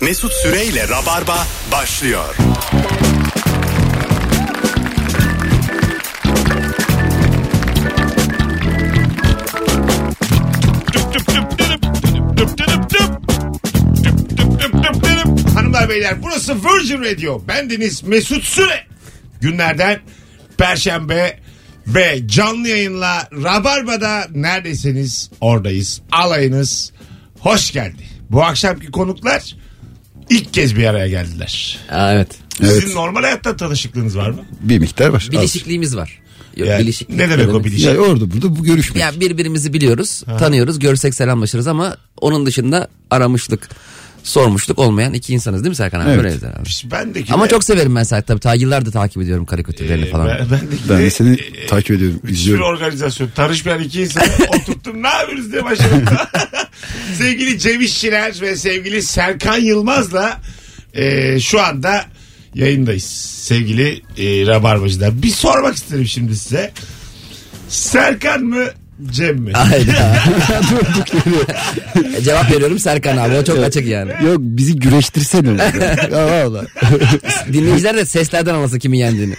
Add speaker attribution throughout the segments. Speaker 1: Mesut Süreyle Rabarba başlıyor.
Speaker 2: Hanımlar beyler burası Virgin Radio. Ben Deniz Mesut Süre. Günlerden Perşembe ve canlı yayınla Rabarba'da neredesiniz oradayız. Alayınız hoş geldi. Bu akşamki konuklar ilk kez bir araya geldiler.
Speaker 3: Aa, evet.
Speaker 2: Sizin normal hayatta tanışıklığınız var mı?
Speaker 4: Bir miktar var. Az.
Speaker 3: Bilişikliğimiz var. Yok,
Speaker 2: Yani
Speaker 3: bilişiklik
Speaker 2: ne demek o
Speaker 3: demek?
Speaker 2: bilişik?
Speaker 4: Yani orada burada bu görüşmek.
Speaker 3: Ya birbirimizi biliyoruz, tanıyoruz, görsek selamlaşırız ama onun dışında aramışlık, sormuşluk olmayan iki insanız değil mi Serkan abi?
Speaker 4: Evet.
Speaker 3: Öyle abi.
Speaker 2: Ben de
Speaker 3: Ama çok severim ben Serkan tabii. Ta yıllardır takip ediyorum karikatürlerini falan.
Speaker 2: Ee, ben, ben de
Speaker 4: ben de seni takip ediyorum,
Speaker 2: bir
Speaker 4: izliyorum.
Speaker 2: organizasyon. Tanışmayan iki insanı oturttum ne yapıyoruz diye başladım. sevgili Cem İşçiler ve sevgili Serkan Yılmaz'la e, şu anda yayındayız. Sevgili e, Rabarbacılar. Bir sormak isterim şimdi size. Serkan mı Cem mi?
Speaker 3: Hayda. E, Cevap veriyorum Serkan abi. O çok açık yani.
Speaker 4: Yok bizi güreştirsene. oğlum. ya valla.
Speaker 3: Dinleyiciler de seslerden anlasın kimin yendiğini.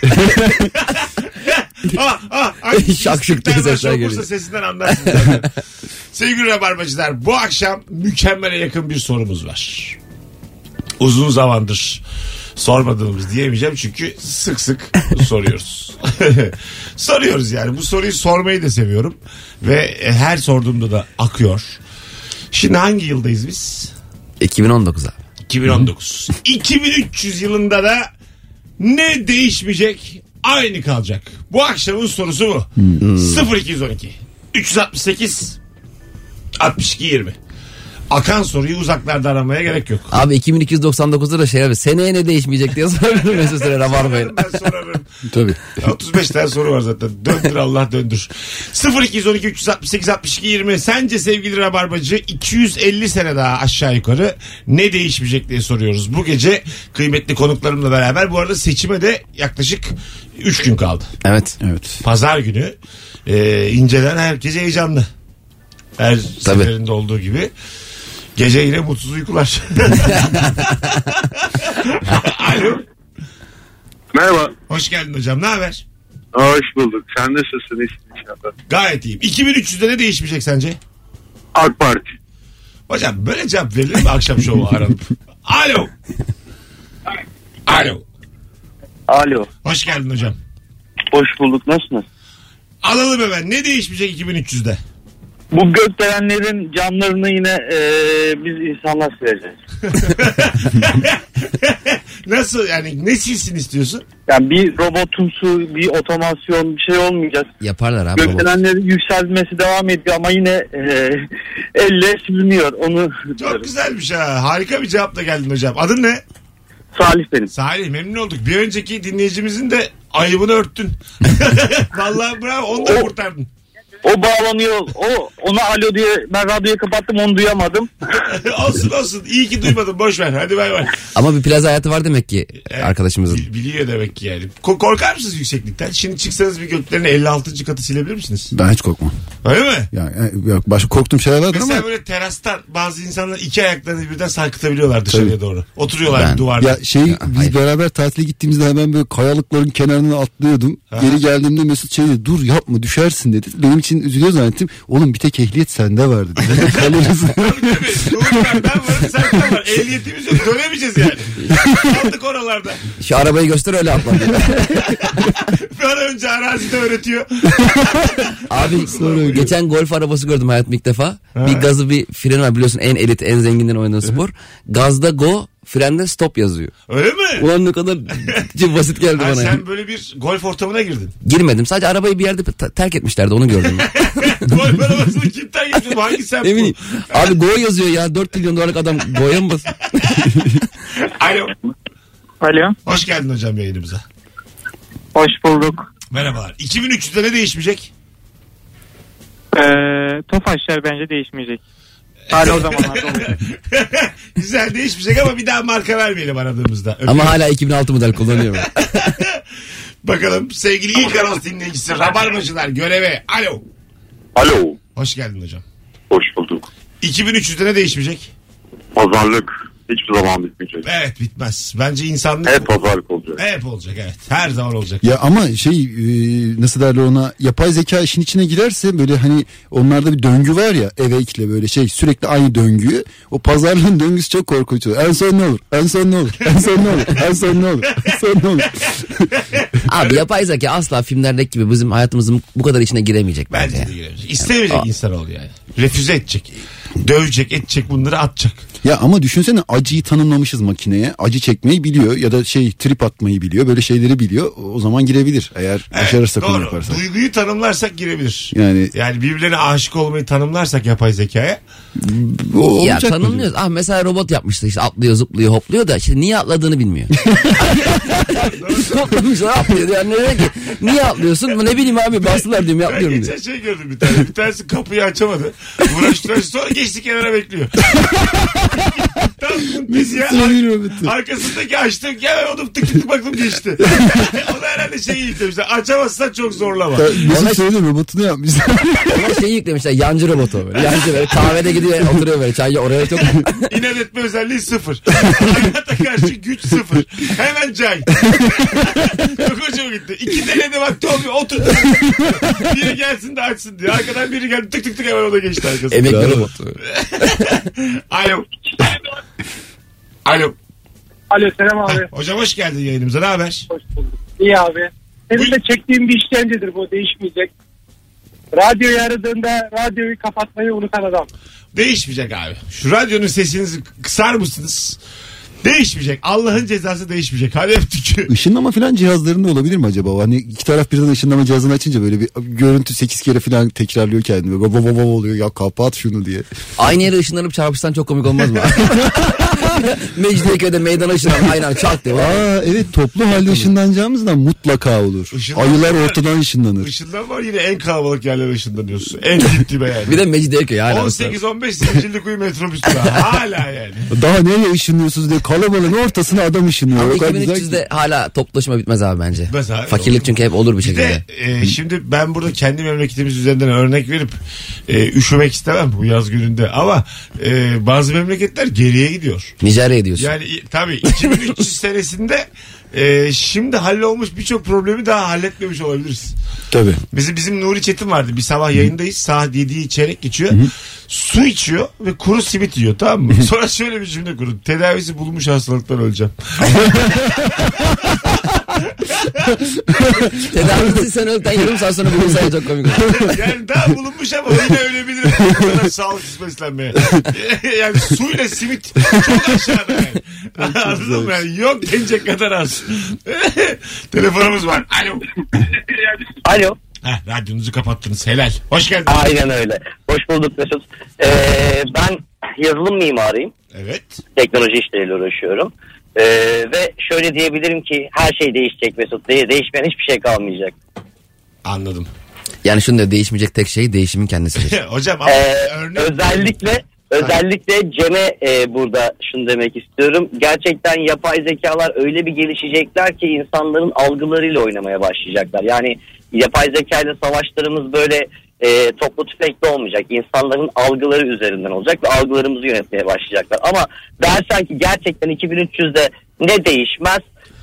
Speaker 2: ah, ah, hangi
Speaker 3: Şak şuk diye
Speaker 2: istiklal
Speaker 3: sesler
Speaker 2: marşı okursa
Speaker 3: geliyor.
Speaker 2: sesinden anlarsınız. zaten. Sevgili Rabarbacılar bu akşam mükemmele yakın bir sorumuz var. Uzun zamandır sormadığımız diyemeyeceğim çünkü sık sık soruyoruz. soruyoruz yani bu soruyu sormayı da seviyorum ve her sorduğumda da akıyor. Şimdi hangi yıldayız biz?
Speaker 3: 2019 abi.
Speaker 2: 2019. 2300 yılında da ne değişmeyecek? Aynı kalacak. Bu akşamın sorusu bu. 0212 368 62 20. Akan soruyu uzaklarda aramaya gerek yok.
Speaker 3: Abi 2299'da da şey abi seneye ne değişmeyecek diye sorabilirim Mesut Süre Rabarba'yla.
Speaker 2: Ben sorarım.
Speaker 4: Tabii.
Speaker 2: 35 tane soru var zaten. Döndür Allah döndür. 0212 368 62 20. Sence sevgili Rabarbacı 250 sene daha aşağı yukarı ne değişmeyecek diye soruyoruz. Bu gece kıymetli konuklarımla beraber bu arada seçime de yaklaşık 3 gün kaldı.
Speaker 3: Evet.
Speaker 4: Evet.
Speaker 2: Pazar günü e, incelen herkes heyecanlı. Her
Speaker 3: Tabii.
Speaker 2: seferinde olduğu gibi. Gece yine mutsuz uykular. Alo.
Speaker 5: Merhaba.
Speaker 2: Hoş geldin hocam. Ne haber?
Speaker 5: Hoş bulduk. Sen nasılsın İyisin inşallah?
Speaker 2: Gayet iyiyim. 2300'de ne değişmeyecek sence?
Speaker 5: AK Parti.
Speaker 2: Hocam böyle cevap verilir mi akşam şovu aranıp? Alo. Alo.
Speaker 6: Alo.
Speaker 2: Hoş geldin hocam.
Speaker 6: Hoş bulduk. Nasılsınız?
Speaker 2: Alalım hemen. Ne değişmeyecek 2300'de?
Speaker 6: Bu gökdelenlerin camlarını yine eee, biz insanlar sileceğiz.
Speaker 2: Nasıl yani ne silsin istiyorsun?
Speaker 6: Yani bir robotumsu, bir otomasyon bir şey olmayacak.
Speaker 3: Yaparlar abi.
Speaker 6: Gökdelenlerin yükselmesi devam ediyor ama yine eee, elle siliniyor. Onu
Speaker 2: Çok güzelmiş ha. Harika bir cevapla geldin hocam. Adın ne?
Speaker 6: Salih benim.
Speaker 2: Salih memnun olduk. Bir önceki dinleyicimizin de ayıbını örttün. Vallahi bravo onu da kurtardın.
Speaker 6: O bağlanıyor. O ona alo diye ben radyoyu kapattım onu duyamadım.
Speaker 2: olsun olsun. İyi ki duymadın. Boş ver. Hadi bay bay.
Speaker 3: Ama bir plaza hayatı var demek ki arkadaşımızın.
Speaker 2: Bil- Biliyor demek ki yani. Ko- korkar mısınız yükseklikten? Şimdi çıksanız bir göklerin 56. katı silebilir misiniz?
Speaker 4: Ben hiç korkmam.
Speaker 2: Öyle mi?
Speaker 4: Yani, yani yok, başka korktuğum şeyler vardır
Speaker 2: Mesela
Speaker 4: ama
Speaker 2: böyle terastan bazı insanlar iki ayaklarını birden sarkıtabiliyorlar dışarıya
Speaker 4: Tabii.
Speaker 2: doğru. Oturuyorlar
Speaker 3: Ben-
Speaker 2: duvarda.
Speaker 4: ya şey biz
Speaker 3: hayır.
Speaker 4: beraber tatile gittiğimizde hemen böyle kayalıkların kenarına atlıyordum. Geri geldiğimde Mesut şey dedi dur yapma düşersin dedi. Benim için üzülüyor zannettim. Oğlum bir tek ehliyet sende vardı dedi. Kalırız.
Speaker 2: Doğru ben varım sen de var. Ehliyetimiz yok dönemeyeceğiz yani. Kaldık oralarda.
Speaker 3: Şu arabayı göster öyle atla.
Speaker 2: Bana önce arazide öğretiyor.
Speaker 3: Abi
Speaker 4: Sonra
Speaker 3: geçen golf arabası gördüm hayatım ilk defa. Bir gazı bir freni var biliyorsun en elit en zenginden oynanan spor. Gazda go frende stop yazıyor.
Speaker 2: Öyle mi?
Speaker 3: Ulan ne kadar basit geldi
Speaker 2: Ha,
Speaker 3: bana. yani.
Speaker 2: sen böyle bir golf ortamına girdin.
Speaker 3: Girmedim sadece arabayı bir yerde ta- terk etmişlerdi onu gördüm.
Speaker 2: golf arabasını kimden girdin? Hangi sen?
Speaker 3: ne bileyim. Abi go yazıyor ya 4 milyon dolarlık adam go'ya mı basıyor?
Speaker 2: Alo.
Speaker 6: Alo.
Speaker 2: Hoş geldin hocam yayınımıza.
Speaker 6: Hoş bulduk.
Speaker 2: Merhabalar. 2003'te ne değişmeyecek?
Speaker 6: Tofaşlar E, bence değişmeyecek. Hala o zamanlarda
Speaker 2: Güzel değişmeyecek ama bir daha marka vermeyelim aradığımızda. Öpüyorum.
Speaker 3: Ama hala 2006 model kullanıyor.
Speaker 2: Bakalım sevgili ilk anons dinleyicisi Rabarbacılar göreve. Alo.
Speaker 5: Alo.
Speaker 2: Hoş geldin hocam.
Speaker 5: Hoş bulduk.
Speaker 2: 2300'de ne değişmeyecek?
Speaker 5: Pazarlık. hiçbir zaman bitmeyecek.
Speaker 2: Evet bitmez. Bence insanlık
Speaker 5: Hep pazarlık olacak.
Speaker 2: hep olacak evet. Her zaman olacak.
Speaker 4: Ya ama şey e, nasıl derler ona yapay zeka işin içine girerse böyle hani onlarda bir döngü var ya eve ikle böyle şey sürekli aynı döngüyü o pazarlığın döngüsü çok korkunç olur. En son ne olur? En son ne olur? En son ne olur? En son ne olur? En son ne olur?
Speaker 3: Abi yapay zeka asla filmlerdeki gibi bizim hayatımızın bu kadar içine giremeyecek bence.
Speaker 2: Bence de giremeyecek. İstemeyecek insan ol yani. Refüze edecek. Dövecek, edecek bunları atacak.
Speaker 4: Ya ama düşünsene acıyı tanımlamışız makineye. Acı çekmeyi biliyor ya da şey trip atmayı biliyor. Böyle şeyleri biliyor. O zaman girebilir eğer
Speaker 2: Evet,
Speaker 4: başarırsak onu
Speaker 2: doğru.
Speaker 4: yaparsak.
Speaker 2: Duyguyu tanımlarsak girebilir.
Speaker 4: Yani-
Speaker 2: yani birbirlerine aşık olmayı tanımlarsak yapay zekaya.
Speaker 4: O,
Speaker 3: ya
Speaker 4: olacak mı diyor?
Speaker 3: tanımlıyoruz. Ah mesela robot yapmıştı işte atlıyor zıplıyor hopluyor da işte niye atladığını bilmiyor. Hoplamışlar atlıyor diyor. Yani diyor ki niye atlıyorsun? Ne bileyim abi bastılar diyorum
Speaker 2: Ben
Speaker 3: yapıyorum
Speaker 2: geçen
Speaker 3: diyor.
Speaker 2: şey gördüm bir tane. Bir tanesi kapıyı açamadı. Uğraştılar sonra geçti kenara bekliyor. Tam biz ya
Speaker 4: Sinir bitti.
Speaker 2: arkasındaki açtım gel odum tık tık baktım geçti. o da herhalde şey şeyi yüklemişler. Açamazsan çok zorlama.
Speaker 4: Ya Mesut söyledi robotunu yapmış.
Speaker 3: Ona şeyi yüklemişler yancı robotu böyle. Yancı böyle kahvede gidiyor oturuyor böyle çaycı oraya çok.
Speaker 2: İnat etme özelliği sıfır. Hayata karşı güç sıfır. Hemen cay. Çok hoşuma gitti. İki denedi vakti oluyor. Oturdu. biri gelsin de açsın diye. Arkadan biri geldi tık tık tık hemen o da geçti arkasına.
Speaker 3: Emekli robotu.
Speaker 2: Alo. Alo.
Speaker 7: Alo Selam abi.
Speaker 2: Hocam hoş geldin yayınımıza. Ne haber?
Speaker 7: Hoş bulduk. İyi abi. Senin de çektiğin bir işkencedir bu değişmeyecek. Radyoyu aradığında radyoyu kapatmayı unutan adam.
Speaker 2: Değişmeyecek abi. Şu radyonun sesinizi kısar mısınız? Değişmeyecek. Allah'ın cezası değişmeyecek. Hadi öptük.
Speaker 4: Işınlama falan cihazlarında olabilir mi acaba? Hani iki taraf birden ışınlama cihazını açınca böyle bir görüntü 8 kere falan tekrarlıyor kendini. Böyle Baba baba oluyor ya kapat şunu diye.
Speaker 3: Aynı yere ışınlanıp çarpışsan çok komik olmaz mı? Mecidiyeköy'de meydana ışınlan aynen çak diyor.
Speaker 4: Aa evet toplu halde ışınlanacağımızdan mutlaka olur.
Speaker 2: Işınlanma-
Speaker 4: Ayılar ortadan ışınlanır.
Speaker 2: Işından var yine en kalabalık yerlere ışınlanıyorsun. En gittiğime yani.
Speaker 3: Bir de Mecidiyeköy hala.
Speaker 2: 18-15 Zincirlikuyu metrobüsü daha. hala yani.
Speaker 4: Daha nereye ışınlıyorsunuz diye kalabalığın ortasına adam ışınlıyor. O kadar güzel ki.
Speaker 3: 2300'de hala toplaşma bitmez abi bence.
Speaker 2: Bitmez abi.
Speaker 3: Fakirlik çünkü hep olur bir
Speaker 2: Bir
Speaker 3: şekilde.
Speaker 2: de e, şimdi ben burada kendi memleketimiz üzerinden örnek verip e, üşümek istemem bu yaz gününde ama e, bazı memleketler geriye gidiyor.
Speaker 3: Nijerya diyorsun.
Speaker 2: Yani i- tabii 2300 senesinde e, şimdi hallolmuş birçok problemi daha halletmemiş olabiliriz.
Speaker 4: Tabii.
Speaker 2: Bizim bizim Nuri Çetin vardı. Bir sabah yayındayız. Saat 7'yi çeyrek geçiyor. Su içiyor ve kuru simit yiyor tamam mı? Sonra şöyle bir cümle kurdu. Tedavisi bulunmuş hastalıktan öleceğim.
Speaker 3: Tedavisi sen öldükten yarım saat sonra bulursa ya çok komik olur.
Speaker 2: Yani daha bulunmuş ama yine ölebilirim. Bu kadar sağlıksız beslenmeye. yani suyla simit çok aşağıda yani. Anladın mı? Yani yok denecek kadar az. Telefonumuz var. Alo.
Speaker 6: Alo.
Speaker 2: Heh, radyonuzu kapattınız. Helal. Hoş geldin.
Speaker 6: Aynen öyle. Hoş bulduk Mesut. Ee, ben yazılım mimarıyım.
Speaker 2: Evet.
Speaker 6: Teknoloji işleriyle uğraşıyorum. Ee, ve şöyle diyebilirim ki her şey değişecek Mesut. De- değişmeyen hiçbir şey kalmayacak.
Speaker 2: Anladım.
Speaker 3: Yani şunu da değişmeyecek tek şey değişimin kendisidir.
Speaker 2: Hocam ama
Speaker 6: Ee,
Speaker 2: örnek...
Speaker 6: özellikle özellikle Cem'e e, burada şunu demek istiyorum. Gerçekten yapay zekalar öyle bir gelişecekler ki insanların algılarıyla oynamaya başlayacaklar. Yani yapay zeka ile savaşlarımız böyle e, toplu tüfekli olmayacak. İnsanların algıları üzerinden olacak ve algılarımızı yönetmeye başlayacaklar. Ama dersen ki gerçekten 2300'de ne değişmez?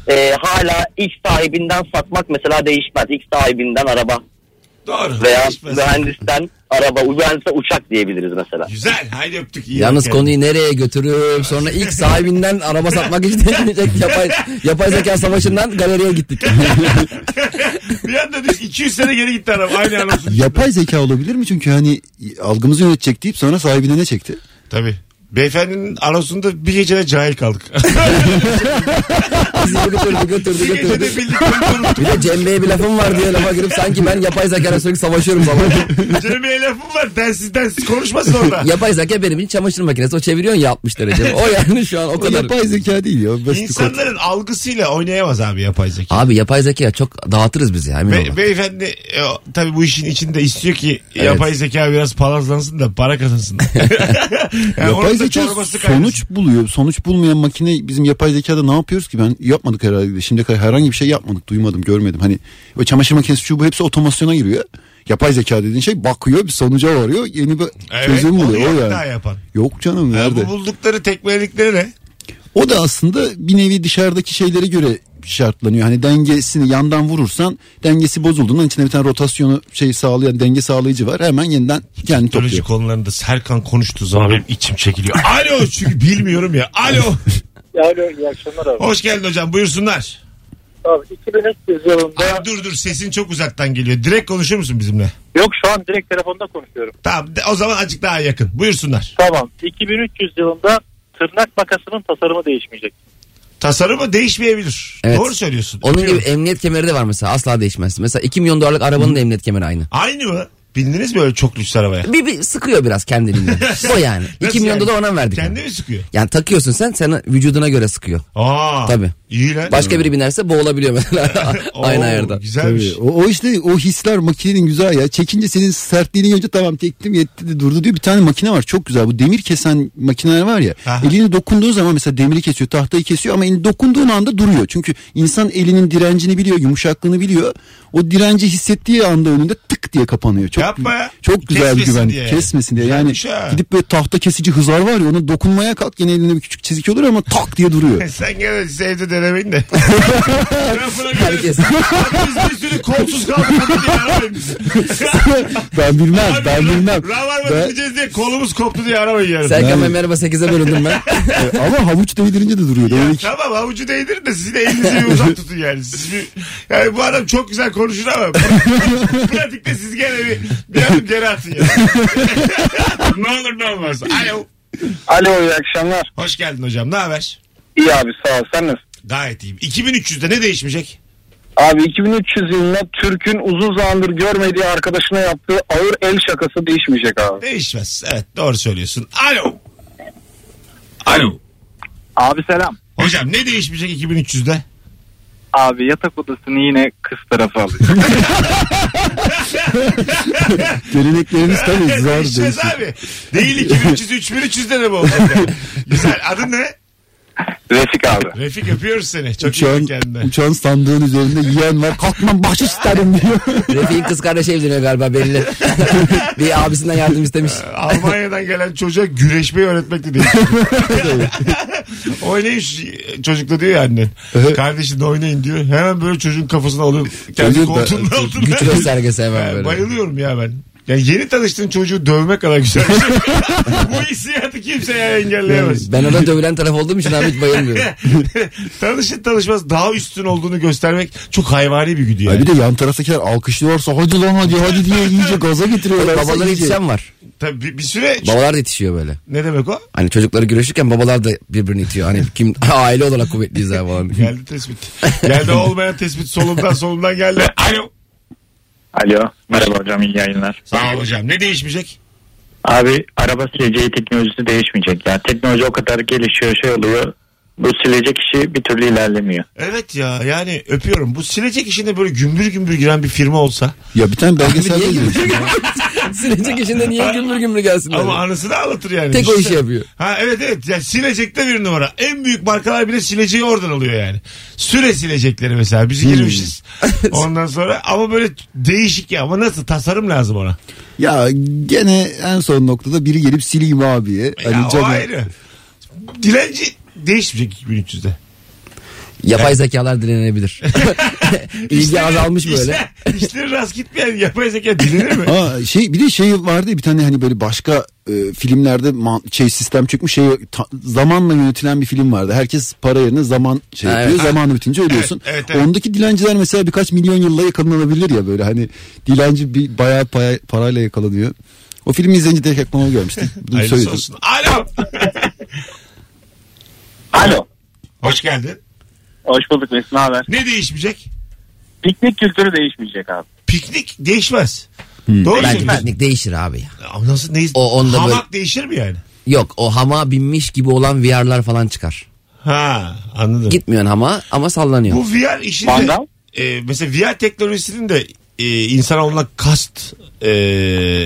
Speaker 6: E, hala ilk sahibinden satmak mesela değişmez. İlk sahibinden araba
Speaker 2: Doğru.
Speaker 6: veya
Speaker 2: Değişmez.
Speaker 6: mühendisten araba, mühendise uçak diyebiliriz mesela.
Speaker 2: Güzel. Haydi öptük. iyi
Speaker 3: Yalnız
Speaker 2: bak kendine.
Speaker 3: konuyu nereye götürüp sonra ilk sahibinden araba satmak için değişmeyecek yapay, yapay zeka savaşından galeriye gittik.
Speaker 2: bir anda düş 200 sene geri gitti araba. Aynı anonsun.
Speaker 4: Yapay zeka olabilir mi? Çünkü hani algımızı yönetecek deyip sonra sahibine ne çekti?
Speaker 2: Tabii. Beyefendinin anonsunda bir gecede cahil kaldık.
Speaker 3: Bizi götürdü götürdü
Speaker 2: bir
Speaker 3: götürdü.
Speaker 2: gecede bildik. unuttuk.
Speaker 3: Bir de Cem Bey'e bir lafım var diye lafa girip sanki ben yapay zekayla sürekli savaşıyorum zaman.
Speaker 2: Cem'e lafım var. Densiz densiz konuşmasın orada.
Speaker 3: yapay zeka benim için çamaşır makinesi. O çeviriyorsun ya 60 derece. O yani şu an o
Speaker 4: O
Speaker 3: kadar.
Speaker 4: yapay zeka değil ya. Basit bir kod.
Speaker 2: İnsanların algısıyla oynayamaz abi yapay zeka.
Speaker 3: Abi yapay zeka çok dağıtırız bizi ya emin ol
Speaker 2: Be-
Speaker 3: bak.
Speaker 2: beyefendi e, o- tabii bu işin içinde istiyor ki yapay zeka biraz palazlansın da para kazansın. Yani onun
Speaker 4: Yapay
Speaker 2: da
Speaker 4: zeka
Speaker 2: çorbası kaynasın.
Speaker 4: sonuç buluyor. Sonuç bulmayan makine bizim yapay zekada ne yapıyoruz ki? Ben yapmadık herhalde. Şimdiye kadar herhangi bir şey yapmadık. Duymadım, görmedim. Hani o çamaşır makinesi çubuğu hepsi otomasyona giriyor. Yapay zeka dediğin şey bakıyor bir sonuca varıyor. Yeni bir
Speaker 2: Evet,
Speaker 4: çözüm
Speaker 2: onu
Speaker 4: buluyor.
Speaker 2: yok
Speaker 4: O yani.
Speaker 2: daha yapan.
Speaker 4: Yok canım
Speaker 2: Ya
Speaker 4: nerede?
Speaker 2: bu buldukları tekmelikleri ne?
Speaker 4: O da aslında bir nevi dışarıdaki şeylere göre şartlanıyor. Hani dengesini yandan vurursan dengesi bozulduğundan içinde bir tane rotasyonu şey sağlayan denge sağlayıcı var. Hemen yeniden kendini
Speaker 2: Teknoloji
Speaker 4: topluyor.
Speaker 2: konularında Serkan konuştuğu zaman benim içim çekiliyor. Alo çünkü bilmiyorum ya. Alo.
Speaker 7: Yani iyi akşamlar abi.
Speaker 2: Hoş geldin hocam buyursunlar.
Speaker 7: Abi 2003 yılında
Speaker 2: Abi dur dur sesin çok uzaktan geliyor. Direkt konuşur musun bizimle?
Speaker 7: yok şu an direkt telefonda konuşuyorum.
Speaker 2: Tamam de- o zaman azıcık daha yakın. Buyursunlar.
Speaker 7: Tamam. 2300 yılında tırnak makasının tasarımı değişmeyecek.
Speaker 2: Tasarımı değişmeyebilir.
Speaker 3: Evet.
Speaker 2: Doğru söylüyorsun.
Speaker 3: Onun gibi
Speaker 2: Biliyorum.
Speaker 3: emniyet kemeri de var mesela asla değişmez. Mesela 2 milyon dolarlık arabanın da emniyet kemeri aynı.
Speaker 2: Aynı mı? Bildiniz mi öyle çok lüks arabaya?
Speaker 3: Bir, bir sıkıyor biraz kendiliğinden. o yani. 2
Speaker 2: Nasıl
Speaker 3: milyon
Speaker 2: yani?
Speaker 3: dolar ona verdik.
Speaker 2: Kendi
Speaker 3: yani.
Speaker 2: mi sıkıyor?
Speaker 3: Yani takıyorsun sen sana vücuduna göre sıkıyor.
Speaker 2: Aa.
Speaker 3: Tabii.
Speaker 2: İyi lan.
Speaker 3: Başka biri binerse boğulabiliyor mesela
Speaker 2: Oo,
Speaker 3: aynı ayarda.
Speaker 2: Güzelmiş.
Speaker 4: Tabii. O, o işte o hisler makinenin güzel ya. Çekince senin sertliğini görünce tamam tektim yetti de durdu diyor. Bir tane makine var çok güzel. Bu demir kesen makineler var ya.
Speaker 2: Aha.
Speaker 4: Elini dokunduğu zaman mesela demiri kesiyor tahtayı kesiyor ama elini dokunduğun anda duruyor. Çünkü insan elinin direncini biliyor yumuşaklığını biliyor. O direnci hissettiği anda önünde tık diye kapanıyor. Çok,
Speaker 2: Yapma ya.
Speaker 4: Çok güzel
Speaker 2: Kesmesin
Speaker 4: bir güvenlik.
Speaker 2: diye.
Speaker 4: Kesmesin diye. Yani
Speaker 2: Güzelmiş ha.
Speaker 4: gidip böyle tahta kesici hızar var ya ona dokunmaya kalk yine elinde bir küçük çizik olur ama tak diye duruyor.
Speaker 2: E, Sen gene size evde denemeyin de. Tarafına göre-
Speaker 3: Herkes.
Speaker 2: Bak Biz bir sürü kolsuz kaldık. bunu diye aramayın bizi.
Speaker 4: ben bilmem
Speaker 2: Abi,
Speaker 4: ben
Speaker 2: ra-
Speaker 4: bilmem.
Speaker 2: Ravarma
Speaker 4: Ben-
Speaker 2: dinleyeceğiz diye kolumuz koptu diye aramayın yarın.
Speaker 3: Serkan Bey merhaba 8'e bölündüm ben.
Speaker 4: E, ama havuç değdirince de duruyor.
Speaker 2: Ya
Speaker 4: Demek ki-
Speaker 2: tamam avucu değdirin de sizin elinizi bir uzak tutun yani. Siz bir, yani bu adam çok güzel konuşur ama pra- pratikte siz gene bir, bir adım geri atın yani. ne olur ne olmaz. Alo.
Speaker 5: Alo iyi akşamlar.
Speaker 2: Hoş geldin hocam ne haber?
Speaker 5: İyi abi sağ ol. Sen nasılsın?
Speaker 2: Gayet iyiyim. 2300'de ne değişmeyecek?
Speaker 5: Abi 2300 yılında Türk'ün uzun zamandır görmediği arkadaşına yaptığı ağır el şakası değişmeyecek abi.
Speaker 2: Değişmez. Evet doğru söylüyorsun. Alo. Alo.
Speaker 8: Abi selam.
Speaker 2: Hocam ne değişmeyecek 2300'de?
Speaker 8: Abi yatak odasını yine kız tarafı alacak.
Speaker 4: Geleneklerimiz tabii zor
Speaker 2: Değişmez
Speaker 4: değişiyor.
Speaker 2: abi. Değil 2300 3300'de de mi olacak? yani? Güzel. Adın ne?
Speaker 5: Refik abi.
Speaker 2: Refik öpüyoruz seni. Çok iyi bak
Speaker 4: Uçağın,
Speaker 2: kendine.
Speaker 4: uçağın sandığın üzerinde yiyen var. Kalkmam başı isterim diyor.
Speaker 3: Refik'in kız kardeşi evleniyor galiba belli. bir abisinden yardım istemiş.
Speaker 2: Almanya'dan gelen çocuğa güreşmeyi öğretmek de değil. oynayın şu çocukla diyor ya annen.
Speaker 4: Evet.
Speaker 2: Kardeşin de oynayın diyor. Hemen böyle çocuğun kafasına alıyor. Kendi
Speaker 4: Çocuk da-
Speaker 2: koltuğunun altına.
Speaker 3: Güç göstergesi hemen
Speaker 2: Ben
Speaker 3: böyle.
Speaker 2: Bayılıyorum ya ben. Ya yeni tanıştığın çocuğu dövmek kadar güzel bir şey. Bu hissiyatı kimseye engelleyemez.
Speaker 3: Ben ona dövülen taraf olduğum için abi hiç bayılmıyorum.
Speaker 2: Tanışır tanışmaz daha üstün olduğunu göstermek çok hayvani bir güdü yani.
Speaker 4: Ya bir de yan taraftakiler alkışlıyorsa hadi lan hadi hadi diye iyice gaza getiriyorlar.
Speaker 3: Babalar
Speaker 4: İyice-
Speaker 3: yetişen var.
Speaker 2: Tabii bir, bir süre
Speaker 3: Babalar da yetişiyor böyle.
Speaker 2: ne demek o?
Speaker 3: Hani çocukları güreşirken babalar da birbirini itiyor. Hani kim aile olarak kuvvetliyiz abi falan.
Speaker 2: Geldi tespit. Geldi olmayan tespit solundan solundan geldi. Alo.
Speaker 8: Alo. Merhaba hocam iyi yayınlar.
Speaker 2: Sağ ol hocam. Ne değişmeyecek?
Speaker 8: Abi araba sileceği teknolojisi değişmeyecek. Yani teknoloji o kadar gelişiyor şey oluyor. Bu silecek işi bir türlü ilerlemiyor.
Speaker 2: Evet ya yani öpüyorum. Bu silecek işinde böyle gümbür gümbür giren bir firma olsa.
Speaker 4: Ya bir tane belgesel
Speaker 3: Niye
Speaker 4: izledim.
Speaker 3: gümbür gümbür- Silecek işinde niye gümbür gümbür gelsin?
Speaker 2: Ama
Speaker 3: dedi.
Speaker 2: anısını ağlatır yani.
Speaker 3: Tek o
Speaker 2: İşte-
Speaker 3: işi yapıyor.
Speaker 2: Ha evet evet. Yani silecekte bir numara. En büyük markalar bile sileceği oradan alıyor yani. Süre silecekleri mesela. Biz girmişiz. Ondan sonra ama böyle değişik ya. Ama nasıl tasarım lazım ona?
Speaker 4: Ya gene en son noktada biri gelip sileyim abiye.
Speaker 2: Ya
Speaker 4: Hani
Speaker 2: o
Speaker 4: canım-
Speaker 2: ayrı. Dilenci değişmeyecek 2300'de.
Speaker 3: Yapay zekalar dilenebilir. İlgi azalmış böyle.
Speaker 2: İşler, işleri rast gitmeyen yapay zeka dilenir mi?
Speaker 4: Aa, şey bir de şey vardı ya, bir tane hani böyle başka e, filmlerde man- şey sistem çıkmış şey ta- zamanla yönetilen bir film vardı. Herkes para yerine zaman şey
Speaker 3: Ha,
Speaker 4: yapıyor.
Speaker 3: evet.
Speaker 4: Zamanı bitince ölüyorsun.
Speaker 2: Evet, evet, evet.
Speaker 4: Ondaki dilenciler mesela birkaç milyon yılla yakalanabilir ya böyle hani dilenci bir bayağı paya- parayla yakalanıyor. O filmi izleyince direkt aklıma gelmişti. Bunu
Speaker 2: Hayırlısı
Speaker 4: söyledim.
Speaker 2: olsun. Alo.
Speaker 8: Alo.
Speaker 2: Hoş geldin.
Speaker 8: Hoş bulduk Mesut haber?
Speaker 2: Ne değişmeyecek?
Speaker 8: Piknik kültürü değişmeyecek abi.
Speaker 2: Piknik değişmez. Doğru
Speaker 3: Bence
Speaker 2: söylüyorsun.
Speaker 3: teknik değişir abi ya.
Speaker 2: Ama Nasıl neyiz?
Speaker 3: O onda
Speaker 2: Hamak
Speaker 3: böyle-
Speaker 2: değişir mi yani?
Speaker 3: Yok o hama binmiş gibi olan VR'lar falan çıkar.
Speaker 2: Ha anladım.
Speaker 3: Gitmiyorsun hama ama sallanıyor.
Speaker 2: Bu VR işi de
Speaker 8: Vandal?
Speaker 2: e, mesela VR teknolojisinin de e, insanoğluna kast e,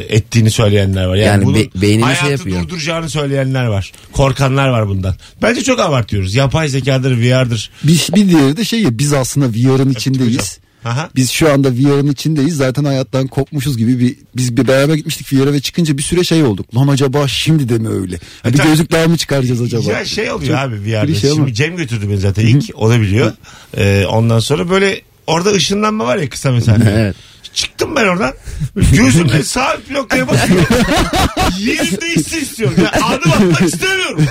Speaker 2: ettiğini söyleyenler var. Yani,
Speaker 3: Yani
Speaker 2: bunun
Speaker 3: be- beynini şey
Speaker 2: hayatı
Speaker 3: yapıyor.
Speaker 2: durduracağını söyleyenler var. Korkanlar var bundan. Bence çok abartıyoruz. Yapay zekadır, VR'dır.
Speaker 4: Bir, bir diğeri de şey ya biz aslında VR'ın içindeyiz.
Speaker 2: Aha.
Speaker 4: Biz şu anda VR'ın içindeyiz. Zaten hayattan kopmuşuz gibi bir biz bir beraber gitmiştik VR'a ve çıkınca bir süre şey olduk. Lan acaba şimdi de mi öyle? Ha, bir
Speaker 2: E tabii.
Speaker 4: gözlük daha mı çıkaracağız acaba?
Speaker 2: Ya şey oluyor
Speaker 4: Çok
Speaker 2: abi bir yerde.
Speaker 4: klişe ama.
Speaker 2: Şimdi Cem götürdü beni zaten ilk. O da biliyor. Ee, ondan sonra böyle orada ışınlanma var ya kısa mesafe.
Speaker 3: Evet.
Speaker 2: Çıktım ben oradan. Gözümle sağ bloklaya basıyorum. Yerim değişsin istiyorum. Ya adım atmak istemiyorum.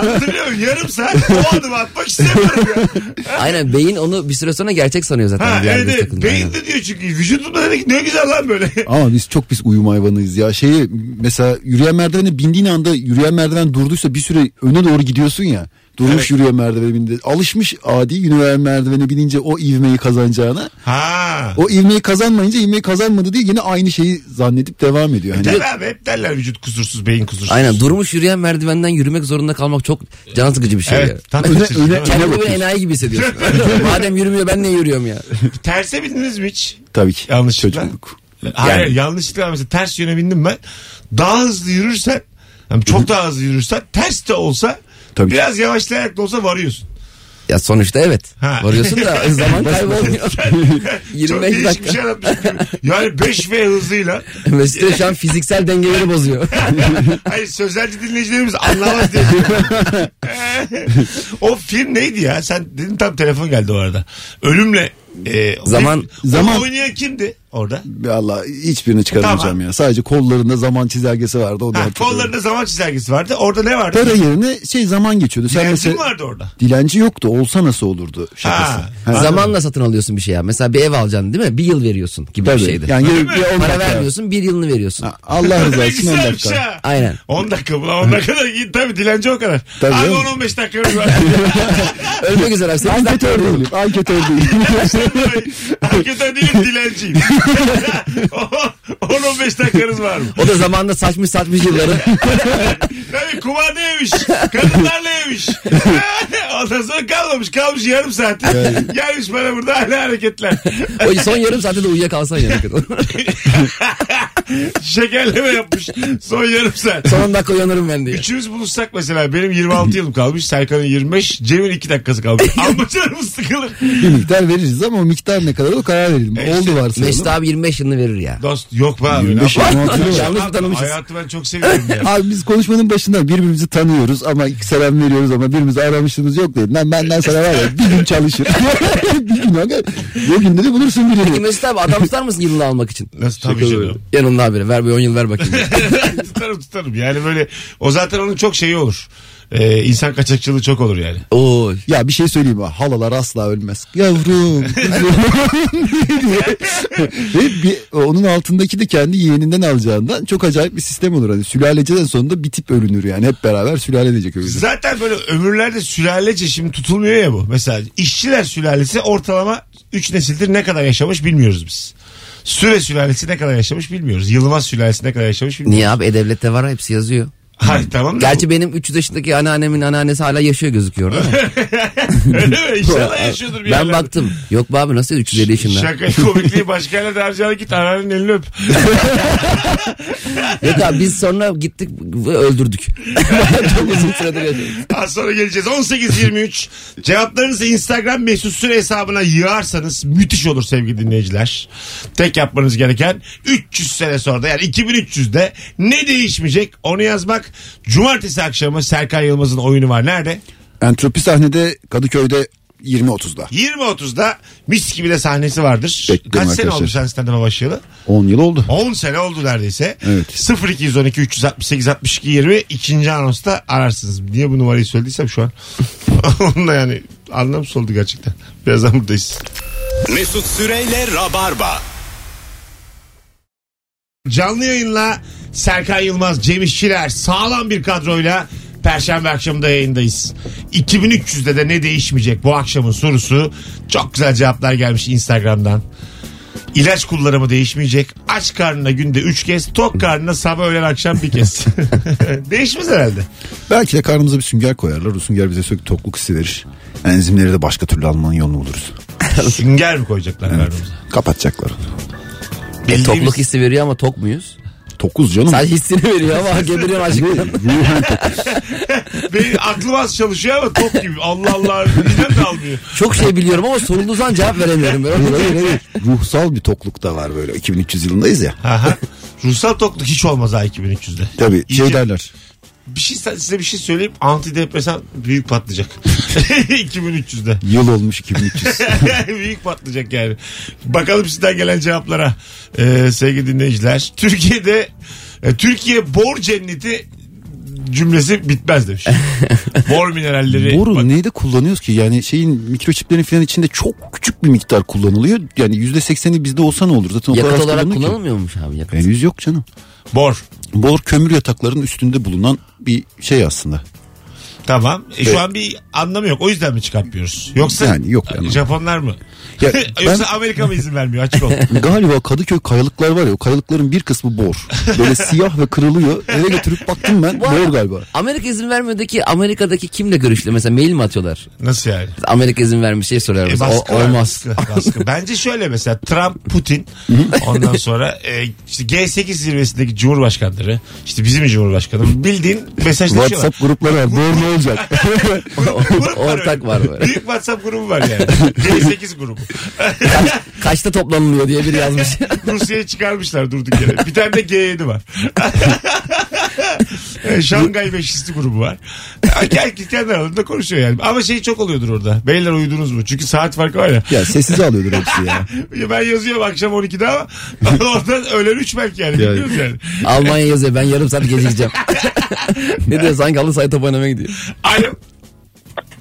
Speaker 2: Anlatabiliyor muyum? Yarım saat o adımı atmak istemiyorum ya.
Speaker 3: Aynen beyin onu bir süre sonra gerçek sanıyor zaten.
Speaker 2: Ha,
Speaker 3: bir yerde
Speaker 2: evet evet.
Speaker 3: takıntı.
Speaker 2: Beyin
Speaker 3: Aynen.
Speaker 2: de diyor çünkü. Vücudumda dedi ki ne güzel lan böyle.
Speaker 4: Ama biz çok pis uyum hayvanıyız ya. Şeyi mesela yürüyen merdivene bindiğin anda yürüyen merdiven durduysa bir süre öne doğru gidiyorsun ya. Durmuş
Speaker 2: Evet.
Speaker 4: yürüyen merdivene bindi. Alışmış adi yürüyen merdivene binince o ivmeyi kazanacağına.
Speaker 2: Ha.
Speaker 4: O ivmeyi kazanmayınca ivmeyi kazanmadı diye yine aynı şeyi zannedip devam ediyor. Hani
Speaker 2: Der abi hep derler vücut kusursuz, beyin kusursuz.
Speaker 3: Aynen durmuş yürüyen merdivenden yürümek zorunda kalmak çok can sıkıcı bir şey ya.
Speaker 2: Evet. Tam
Speaker 4: Öne-
Speaker 2: kaçırdı,
Speaker 4: öne-
Speaker 2: değil mi?
Speaker 3: Kendini böyle enayi gibi hissediyorsun. Madem yürümüyor ben niye yürüyorum ya?
Speaker 2: Terse bindiniz mi hiç?
Speaker 4: tabii ki.
Speaker 2: Yanlışlıkla.
Speaker 4: Çocukluk.
Speaker 2: Hayır yanlışlıkla mesela ters yöne bindim ben. Daha hızlı yürürsen yani çok daha hızlı yürürsen ters de olsa
Speaker 4: Tabii.
Speaker 2: biraz yavaşlayarak da olsa varıyorsun.
Speaker 3: Ya sonuçta evet.
Speaker 2: Ha.
Speaker 3: Varıyorsun da zaman kaybolmuyor.
Speaker 2: çok
Speaker 3: 25
Speaker 2: değişik bir
Speaker 3: dakika.
Speaker 2: şey anlatmışım. şey Yani 5 V hızıyla.
Speaker 3: Mesut'un şu an fiziksel dengeleri bozuyor.
Speaker 2: Hayır sözelci dinleyicilerimiz anlamaz diye. o film neydi ya? Sen dedin tam telefon geldi o arada. Ölümle e, zaman
Speaker 3: Zaman-
Speaker 4: zaman-
Speaker 2: oynayan kimdi orada?
Speaker 4: Valla hiçbirini çıkaramayacağım
Speaker 2: Tamam.
Speaker 4: ya. Sadece kollarında zaman çizelgesi vardı. O da
Speaker 2: Ha,
Speaker 4: hatırlıyorum.
Speaker 2: kollarında zaman çizelgesi vardı. Orada ne vardı?
Speaker 4: Para yerine şey zaman geçiyordu. Sen
Speaker 2: Dilencim
Speaker 4: mesela
Speaker 2: vardı orada.
Speaker 4: dilenci yoktu. Olsa nasıl olurdu şakası.
Speaker 2: Ha.
Speaker 4: Ha.
Speaker 3: Zamanla satın alıyorsun bir şey ya. Mesela bir ev alacaksın değil mi? Bir yıl veriyorsun gibi
Speaker 4: Tabii.
Speaker 3: bir şeydi.
Speaker 4: Yani bir- bir on
Speaker 3: Para
Speaker 4: dakika.
Speaker 3: vermiyorsun bir yılını veriyorsun.
Speaker 4: Ha, Allah rızası
Speaker 2: Ne
Speaker 4: için on
Speaker 2: güzelmiş
Speaker 4: dakika.
Speaker 2: ha.
Speaker 3: Aynen.
Speaker 2: 10 dakika bu lan 10 dakika da iyi tabii dilenci o kadar.
Speaker 4: Tabii
Speaker 2: Abi
Speaker 4: canım.
Speaker 2: 10-15 dakika yürü.
Speaker 3: Ölmek üzere abi. Sekiz dakika
Speaker 4: Anketör
Speaker 3: oldu.
Speaker 4: değilim. Anketör değilim.
Speaker 2: Hakikaten değil dilenciyim. 10-15 dakikanız var mı?
Speaker 3: O da zamanında saçmış saçmış yılları.
Speaker 2: Tabii kumanda yemiş. Kadınlarla yemiş. Ondan sonra kalmamış. Kalmış yarım saat. Gelmiş bana burada hala hareketler.
Speaker 3: O son yarım saatte de uyuyakalsan ya.
Speaker 2: Şekerleme yapmış. Son yarım saat.
Speaker 3: son 10 dakika uyanırım ben diye.
Speaker 2: Üçümüz buluşsak mesela benim 26 yılım kalmış. Serkan'ın 25. Cem'in 2 dakikası kalmış. Anlaşılır sıkılır?
Speaker 4: bir miktar veririz ama o miktar ne kadar o karar verelim.
Speaker 2: E
Speaker 4: Oldu varsa.
Speaker 3: Mesut abi 25 yılını verir ya.
Speaker 2: Dost yok be abi.
Speaker 4: 25
Speaker 2: Ne yapalım?
Speaker 4: 26 yıl var.
Speaker 3: Yanlış mı tanımışız?
Speaker 2: Hayatı ben çok seviyorum ya.
Speaker 4: Abi biz konuşmanın başında birbirimizi tanıyoruz ama ilk selam veriyoruz ama birbirimizi aramışlığımız yok dedim. Lan benden sana var ya bir gün çalışır. bir gün aga. Bir günde de bulursun
Speaker 3: Peki
Speaker 4: birini.
Speaker 3: Mesut abi adam tutar mısın yılını almak için?
Speaker 2: Nasıl tabii canım.
Speaker 3: Yanında haberi ver bir 10 yıl ver bakayım.
Speaker 2: tutarım tutarım. Yani böyle o zaten onun çok şeyi olur. Ee, insan kaçakçılığı çok olur yani.
Speaker 3: Oo.
Speaker 4: Ya bir şey söyleyeyim mi? Halalar asla ölmez. Yavrum. Ve bir, onun altındaki de kendi yeğeninden alacağından çok acayip bir sistem olur. Hani sülaleceden sonunda bir tip ölünür yani. Hep beraber sülale edecek öbürü.
Speaker 2: Zaten böyle ömürlerde sülalece şimdi tutulmuyor ya bu. Mesela işçiler sülalesi ortalama 3 nesildir ne kadar yaşamış bilmiyoruz biz. Süre sülalesi ne kadar yaşamış bilmiyoruz. Yılmaz sülalesi ne kadar yaşamış bilmiyoruz.
Speaker 3: Niye abi E-Devlet'te var hepsi yazıyor.
Speaker 2: Hayır tamam da.
Speaker 3: Gerçi benim 300 yaşındaki anneannemin anneannesi hala yaşıyor gözüküyor. değil mi?
Speaker 2: Öyle mi? İnşallah yaşıyordur bir
Speaker 3: ben
Speaker 2: yerlerde.
Speaker 3: baktım. Yok be abi nasıl 350 yaşında?
Speaker 2: Şaka komikliği başka yerlerde harcayana git ananın elini öp.
Speaker 3: Yok abi biz sonra gittik ve öldürdük. Çok uzun süredir yaşıyoruz.
Speaker 2: Az sonra geleceğiz. 18.23. Cevaplarınızı Instagram mesut süre hesabına yığarsanız müthiş olur sevgili dinleyiciler. Tek yapmanız gereken 300 sene sonra da yani 2300'de ne değişmeyecek onu yazmak. Cumartesi akşamı Serkan Yılmaz'ın oyunu var. Nerede?
Speaker 4: Entropi sahnede Kadıköy'de 20.30'da.
Speaker 2: 20.30'da mis gibi de sahnesi vardır.
Speaker 4: Bekliyorum
Speaker 2: Kaç sene
Speaker 4: arkadaşlar.
Speaker 2: oldu sen stand-up'a başlayalı?
Speaker 4: 10 yıl oldu.
Speaker 2: 10 sene oldu neredeyse.
Speaker 4: Evet.
Speaker 2: 0212 368 62 20 ikinci anonsta ararsınız. Niye bu numarayı söylediysem şu an. Onunla yani anlamsız oldu gerçekten. Birazdan buradayız.
Speaker 1: Mesut Süreyle Rabarba.
Speaker 2: Canlı yayınla Serkan Yılmaz, Cem İşçiler sağlam bir kadroyla Perşembe akşamında yayındayız. 2300'de de ne değişmeyecek bu akşamın sorusu. Çok güzel cevaplar gelmiş Instagram'dan. İlaç kullanımı değişmeyecek. Aç karnına günde 3 kez, tok karnına sabah öğlen akşam bir kez. Değişmez herhalde.
Speaker 4: Belki de karnımıza bir sünger koyarlar. O sünger bize sürekli tokluk hissi verir. Enzimleri de başka türlü almanın yolunu buluruz.
Speaker 2: Sünger mi koyacaklar karnımıza?
Speaker 4: Kapatacaklar.
Speaker 3: E,
Speaker 2: Bildiğimiz-
Speaker 3: tokluk hissi veriyor ama tok muyuz?
Speaker 4: Tokuz canım.
Speaker 3: Sadece hissini veriyor ama geberiyor acıktan.
Speaker 4: Ruhen tokuz.
Speaker 2: Benim aklım az çalışıyor ama top gibi. Allah Allah. Neden de almıyor?
Speaker 3: Çok şey biliyorum ama sorulduğundan cevap veremiyorum. Ben
Speaker 4: Hayır,
Speaker 3: onu
Speaker 4: hayır, hayır. Ruhsal bir tokluk da var böyle. 2300 yılındayız ya.
Speaker 2: Aha. Ruhsal tokluk hiç olmaz ha 2300'de.
Speaker 4: Tabii şey
Speaker 2: İyice-
Speaker 4: derler.
Speaker 2: Bir şey size bir şey söyleyeyim. Antidepresan büyük patlayacak. 2300'de.
Speaker 4: Yıl olmuş 2300.
Speaker 2: büyük patlayacak yani. Bakalım sizden gelen cevaplara ee, sevgili dinleyiciler. Türkiye'de e, Türkiye bor cenneti cümlesi bitmez demiş. bor mineralleri.
Speaker 4: Boru
Speaker 2: Bak-
Speaker 4: neyde kullanıyoruz ki? Yani şeyin mikroçiplerin falan içinde çok küçük bir miktar kullanılıyor. Yani %80'i bizde olsa ne olur? Zaten o kadar
Speaker 3: Yakıt
Speaker 4: az
Speaker 3: olarak
Speaker 4: kullanılıyor ki.
Speaker 3: kullanılmıyormuş abi yakıt.
Speaker 4: Henüz yok canım.
Speaker 2: Bor.
Speaker 4: Bor kömür yataklarının üstünde bulunan bir şey aslında.
Speaker 2: Tamam. E, şu an bir anlamı yok. O yüzden mi çıkartmıyoruz? Yoksa
Speaker 4: Yani yok yani.
Speaker 2: Japonlar mı?
Speaker 4: Ya
Speaker 2: Yoksa Amerika mı izin vermiyor? Açık ol.
Speaker 4: Galiba Kadıköy kayalıklar var ya o kayalıkların bir kısmı bor. Böyle siyah ve kırılıyor. Eve götürüp baktım ben
Speaker 3: Bu arada-
Speaker 4: bor galiba.
Speaker 3: Amerika izin vermiyor'daki Amerika'daki kimle görüştü? Mesela mail mi atıyorlar?
Speaker 2: Nasıl yani?
Speaker 3: Amerika izin vermiş şey soruyorlar.
Speaker 2: E,
Speaker 3: mesela.
Speaker 2: baskı
Speaker 3: o,
Speaker 2: var,
Speaker 3: olmaz.
Speaker 2: Baskı, baskı. Bence şöyle mesela Trump, Putin ondan sonra e, işte G8 zirvesindeki cumhurbaşkanları işte bizim cumhurbaşkanı bildiğin mesajlaşıyorlar.
Speaker 4: WhatsApp grupları var. Bor ne olacak?
Speaker 2: Grup
Speaker 3: Ortak var
Speaker 2: öyle.
Speaker 3: böyle.
Speaker 2: Büyük WhatsApp grubu var yani. G8 grubu.
Speaker 3: Kaçta toplanılıyor diye biri yazmış.
Speaker 2: Rusya'ya çıkarmışlar durduk yere. Bir tane de G7 var. E, Şangay Beşlisi grubu var. Herkes kendi aralarında konuşuyor yani. Ama şey çok oluyordur orada. Beyler uyudunuz mu? Çünkü saat farkı var ya.
Speaker 4: ya sessize alıyordur hepsi ya.
Speaker 2: Ya Ben yazıyorum akşam 12'de ama oradan öğlen 3 belki yani.
Speaker 4: Yani.
Speaker 2: Biliyoruz yani.
Speaker 3: Almanya yazıyor ben yarım saat gecikeceğim. ne diyor sanki halı sahaya top oynamaya gidiyor.
Speaker 2: Alo.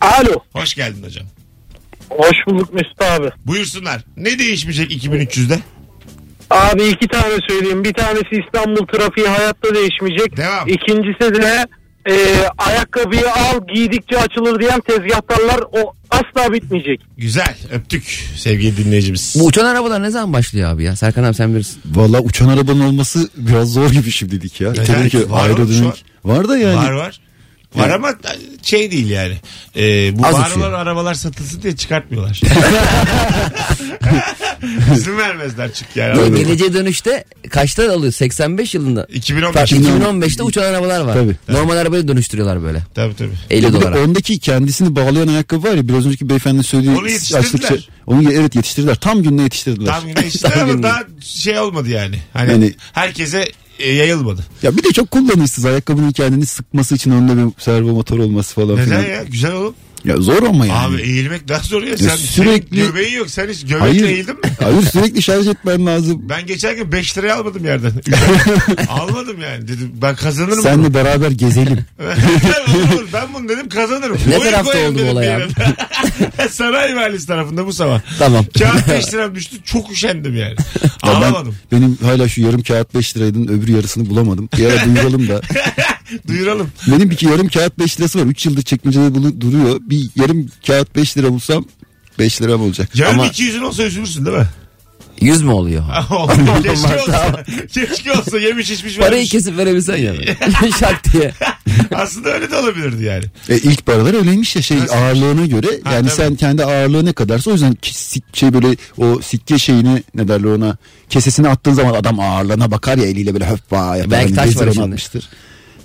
Speaker 5: Alo.
Speaker 2: Hoş geldin hocam.
Speaker 5: Hoş bulduk Mesut abi.
Speaker 2: Buyursunlar. Ne değişmeyecek 2300'de?
Speaker 5: Abi iki tane söyleyeyim. Bir tanesi İstanbul trafiği hayatta değişmeyecek.
Speaker 2: Devam.
Speaker 5: İkincisi de e, ayakkabıyı al giydikçe açılır diyen tezgahtarlar o asla bitmeyecek.
Speaker 2: Güzel. Öptük sevgili dinleyicimiz.
Speaker 3: Bu uçan arabalar ne zaman başlıyor abi ya? Serkan abi sen bilirsin.
Speaker 4: Valla uçan arabanın olması biraz zor gibi şimdilik ya.
Speaker 2: Evet,
Speaker 4: Tabii
Speaker 2: var
Speaker 4: ki
Speaker 2: oğlum şu an.
Speaker 4: aerodinamik. Var da yani.
Speaker 2: Var var. Var ama şey değil yani. Ee, bu
Speaker 3: Az
Speaker 2: var
Speaker 3: uçuyor.
Speaker 2: olan arabalar satılsın diye çıkartmıyorlar. İzin vermezler çık yani.
Speaker 3: Geleceğe dönüşte kaçta alıyor? 85 yılında.
Speaker 2: 2015.
Speaker 3: 2015'te uçan arabalar var.
Speaker 4: Tabii.
Speaker 3: Normal arabayı dönüştürüyorlar böyle.
Speaker 2: Tabii tabii.
Speaker 3: 50
Speaker 4: Bir de
Speaker 3: dolara.
Speaker 4: ondaki kendisini bağlayan ayakkabı var ya biraz önceki beyefendi söylediği
Speaker 2: Onu yetiştirdiler.
Speaker 4: Onu ye- evet yetiştirdiler. Tam gününe yetiştirdiler.
Speaker 2: Tam güne işte
Speaker 3: Tam
Speaker 2: ama
Speaker 3: güne.
Speaker 2: daha şey olmadı yani. Hani
Speaker 4: Yani-
Speaker 2: herkese e, yayılmadı.
Speaker 4: Ya bir de çok kullanışsız ayakkabının kendini sıkması için önünde bir servo motor olması falan
Speaker 2: Neden
Speaker 4: filan.
Speaker 2: ya? Güzel oğlum.
Speaker 4: Ya zor ama yani.
Speaker 2: Abi eğilmek daha zor ya. Sen
Speaker 4: sürekli-
Speaker 2: sürekli göbeğin yok. Sen hiç göbekle eğildin mi?
Speaker 4: Hayır sürekli şarj etmen lazım.
Speaker 2: Ben geçen gün 5 liraya almadım yerden. almadım yani. Dedim ben kazanırım. bunu.
Speaker 4: Seninle beraber gezelim.
Speaker 2: Olur, olur. ben bunu dedim kazanırım.
Speaker 3: Ne
Speaker 2: Oyun
Speaker 3: tarafta
Speaker 2: koyarım
Speaker 3: oldu bu
Speaker 2: dedim
Speaker 3: olay
Speaker 2: bir yere. Sanayi Mahallesi tarafında bu sabah.
Speaker 3: Tamam.
Speaker 2: Kağıt 5 liram düştü. Çok üşendim yani.
Speaker 4: Ya ben-
Speaker 2: Alamadım.
Speaker 4: benim hala şu yarım kağıt 5 liraydın öbür yarısını bulamadım. Bir ara duyuralım da.
Speaker 2: Duyuralım.
Speaker 4: Benim bir yarım kağıt 5 lirası var. 3 yıldır çekmecede bunu duruyor. Bir yarım kağıt 5 lira bulsam 5 liram olacak.
Speaker 2: Yarın
Speaker 4: Ama
Speaker 2: 200'ün olsa üzülürsün değil mi?
Speaker 3: 100 mü oluyor?
Speaker 2: Keşke olsa. Keşke olsa yemiş içmiş
Speaker 3: Parayı
Speaker 2: vermiş.
Speaker 3: kesip verebilsen ya. Şak diye.
Speaker 2: Aslında öyle de olabilirdi yani.
Speaker 4: e, ilk paralar öyleymiş ya şey ağırlığına göre.
Speaker 2: Ha,
Speaker 4: yani
Speaker 2: tabii.
Speaker 4: sen kendi ağırlığı ne kadarsa o yüzden ki- sik- şey böyle o sikke şeyini ne derler ona kesesini attığın zaman adam ağırlığına bakar ya eliyle böyle hoppa yapar.
Speaker 3: Belki
Speaker 4: Hani
Speaker 3: taş
Speaker 4: rezil
Speaker 3: var
Speaker 4: onu
Speaker 3: içinde.
Speaker 4: atmıştır.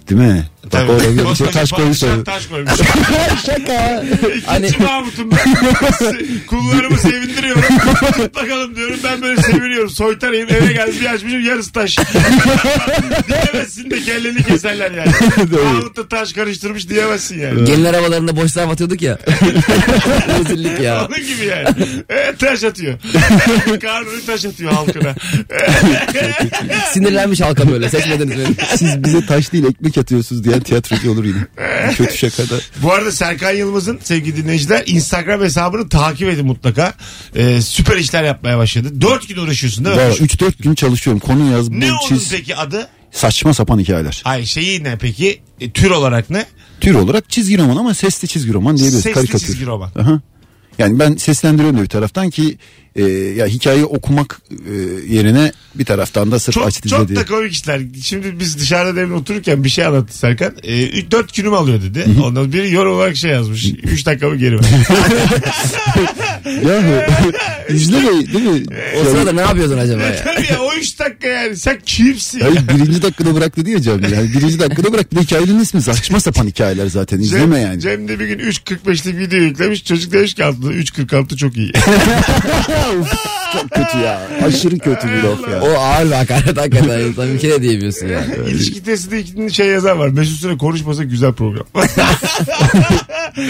Speaker 4: Değil mi? Bak
Speaker 2: Tabii.
Speaker 4: orada bir şey taş koymuş.
Speaker 2: Başına Taş koymuş.
Speaker 4: Şaka.
Speaker 2: İkinci Mahmut'um ben. Kullarımı sevindiriyorum. Tut bakalım diyorum. Ben böyle seviniyorum. Soytarayım. Eve geldim bir açmışım yarısı taş. diyemezsin de kelleni keserler yani. Mahmut da taş karıştırmış diyemezsin yani.
Speaker 3: Gelin arabalarında boş zarf atıyorduk ya. Rezillik ya.
Speaker 2: Onun gibi yani. Evet, taş atıyor. Karnını taş atıyor halkına.
Speaker 3: Sinirlenmiş halka böyle. Seçmediniz beni.
Speaker 4: Siz bize taş değil ekmek atıyorsunuz diyen tiyatrocu olur yine. Bir Kötü şakada.
Speaker 2: Bu arada Serkan Yılmaz'ın sevgili dinleyiciler Instagram hesabını takip edin mutlaka. Ee, süper işler yapmaya başladı. 4 gün uğraşıyorsun değil mi?
Speaker 4: Valla 3-4 gün çalışıyorum. Konu yaz, bul,
Speaker 2: Ne onun
Speaker 4: çiz.
Speaker 2: peki adı?
Speaker 4: Saçma sapan hikayeler.
Speaker 2: Ay şeyi ne peki? E, tür olarak ne?
Speaker 4: Tür olarak çizgi roman ama sesli çizgi roman diyebiliriz.
Speaker 2: Sesli
Speaker 4: karikatür.
Speaker 2: çizgi roman.
Speaker 4: Aha. Yani ben seslendiriyorum da bir taraftan ki e, ya hikayeyi okumak e, yerine bir taraftan da sırf
Speaker 2: Çok,
Speaker 4: aç
Speaker 2: çok
Speaker 4: dizle diye.
Speaker 2: da komik işler. Şimdi biz dışarıda demin otururken bir şey anlattı Serkan. 4 günüm alıyor dedi. Ondan biri yorum olarak şey yazmış. 3 dakikamı geri ver.
Speaker 4: Ya
Speaker 2: Ee,
Speaker 4: izle be, değil mi?
Speaker 3: O sırada ne yapıyordun acaba ya?
Speaker 2: Tabii ya o 3 dakika yani. Sen kimsin? ya?
Speaker 4: Hayır birinci dakikada bıraktı diye Cem. Yani birinci dakikada bıraktı. Hikayenin ismi saçma sapan hikayeler zaten. İzleme yani.
Speaker 2: Cem de bir gün 3.45'lik video yüklemiş. Çocuk demiş ki altında 3.46 çok iyi.
Speaker 4: Çok kötü ya. Aşırı kötü bir laf ya.
Speaker 3: O ağır bir hakaret hakikaten. Tabii ki de diyemiyorsun ya.
Speaker 2: İlişki testinde ikinci şey yazan var. Mesut Süre konuşmasa güzel program.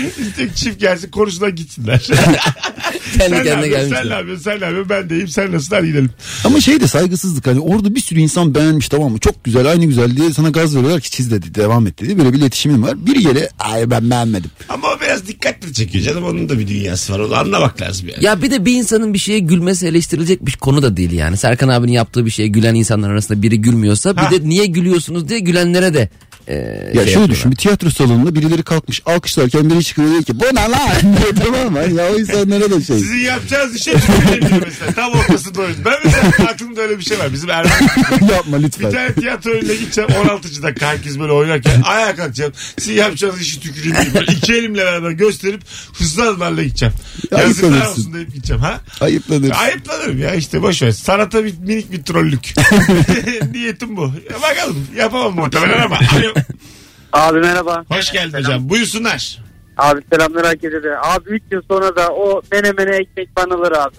Speaker 2: İşte çift gelsin konuşsunlar gitsinler.
Speaker 3: Kendi
Speaker 2: sen, ne
Speaker 3: kendine
Speaker 2: yapıyorsun,
Speaker 3: gelmiş.
Speaker 2: sen ne yapıyorsun? Sen ne yapıyorsun? Ben deyim. Sen nasılsın? Hadi gidelim.
Speaker 4: Ama şey de saygısızlık. Hani orada bir sürü insan beğenmiş tamam mı? Çok güzel aynı güzel diye sana gaz veriyorlar ki çiz dedi. Devam et dedi. Böyle bir iletişimin var. Bir yere ay ben beğenmedim.
Speaker 2: Ama o biraz dikkatli çekiyor canım. Onun da bir dünyası var. Onu anlamak lazım yani.
Speaker 3: Ya bir de bir insanın bir şeye gülmesi eleştirilecek bir konu da değil yani. Serkan abinin yaptığı bir şeye gülen insanlar arasında biri gülmüyorsa
Speaker 2: Ha.
Speaker 3: bir de niye gülüyorsunuz diye gülenlere de e, şey
Speaker 4: Ya şöyle
Speaker 3: yapıyorlar.
Speaker 4: düşün bir tiyatro salonunda birileri kalkmış alkışlarken biri çıkıyor diyor ki bu ne lan tamam mı? Ya o insanlara da şey.
Speaker 2: Sizin yapacağınız işe tükürebilir mesela. Tam ortasında oyun. Ben mesela aklımda öyle bir şey var. Bizim Erman
Speaker 4: Yapma
Speaker 2: bir
Speaker 4: lütfen.
Speaker 2: tane tiyatro önüne gideceğim 16. dakika herkes böyle oynarken ayağa kalkacağım. Sizin yapacağınız işi tüküreyim diye böyle iki elimle beraber gösterip hızlı adımlarla gideceğim.
Speaker 4: Ya
Speaker 2: Yazıklar
Speaker 4: ayıplanırsın.
Speaker 2: olsun deyip gideceğim ha.
Speaker 4: Ayıplanır.
Speaker 2: Ayıplanırım ya işte boş ver. Sanata bir, minik bir trollük. Niyetim bu. Ya bakalım yapamam muhtemelen ama. Alo.
Speaker 5: Abi merhaba.
Speaker 2: Hoş geldin hocam. Buyursunlar.
Speaker 5: Abi selamlar herkese de. Abi 3 yıl sonra da o menemene ekmek banılır abi.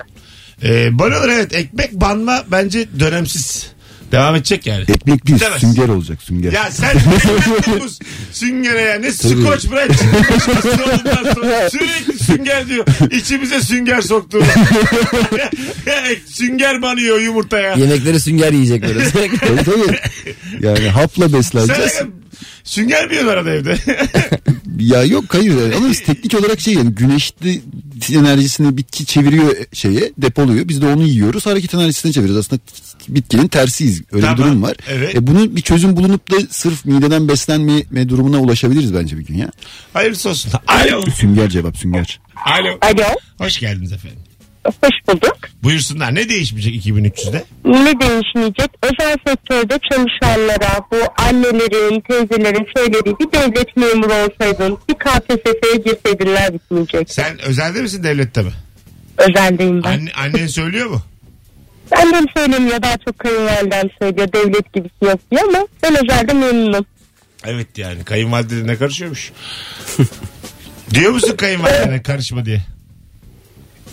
Speaker 2: Ee, banalar evet ekmek banma bence dönemsiz. Devam edecek yani.
Speaker 4: Ekmek değil
Speaker 2: Bitemez.
Speaker 4: sünger olacak sünger.
Speaker 2: Ya sen ne muz süngere ya ne skoç bırak sürekli sünger diyor. İçimize sünger soktu. sünger banıyor yumurtaya.
Speaker 3: Yemekleri sünger yiyecek böyle sürekli.
Speaker 4: Tabii tabii. Yani hapla
Speaker 2: Sen
Speaker 4: besleneceğiz.
Speaker 2: sünger mi yiyorlar arada evde?
Speaker 4: Ya yok hayır ama biz teknik olarak şey yani güneşli enerjisini bitki çeviriyor şeye depoluyor. Biz de onu yiyoruz hareket enerjisine çeviriyoruz. Aslında bitkinin tersiyiz öyle
Speaker 2: Tamam,
Speaker 4: bir durum var.
Speaker 2: evet.
Speaker 4: E bunun bir çözüm bulunup da sırf mideden beslenme durumuna ulaşabiliriz bence bir gün ya.
Speaker 2: Hayırlısı olsun. Alo.
Speaker 4: Sünger cevap sünger.
Speaker 2: Alo.
Speaker 9: Alo,
Speaker 2: Hoş geldiniz efendim.
Speaker 9: hoş bulduk.
Speaker 2: Buyursunlar. Ne değişmeyecek 2300'de?
Speaker 9: Ne değişmeyecek? Özel sektörde çalışanlara bu annelerin, teyzelerin söylediği bir devlet memuru olsaydın, bir KPSS'ye girseydinler bitmeyecek.
Speaker 2: Sen özelde misin devlette mi?
Speaker 9: Özeldeyim ben.
Speaker 2: Anne, annen söylüyor mu?
Speaker 9: Annem söylemiyor, daha çok kayınvalidem söylüyor, devlet gibisi yok diye ama ben özelde memnunum.
Speaker 2: Evet yani kayınvalide ne karışıyormuş? Diyor musun kayınvalidene karışma diye?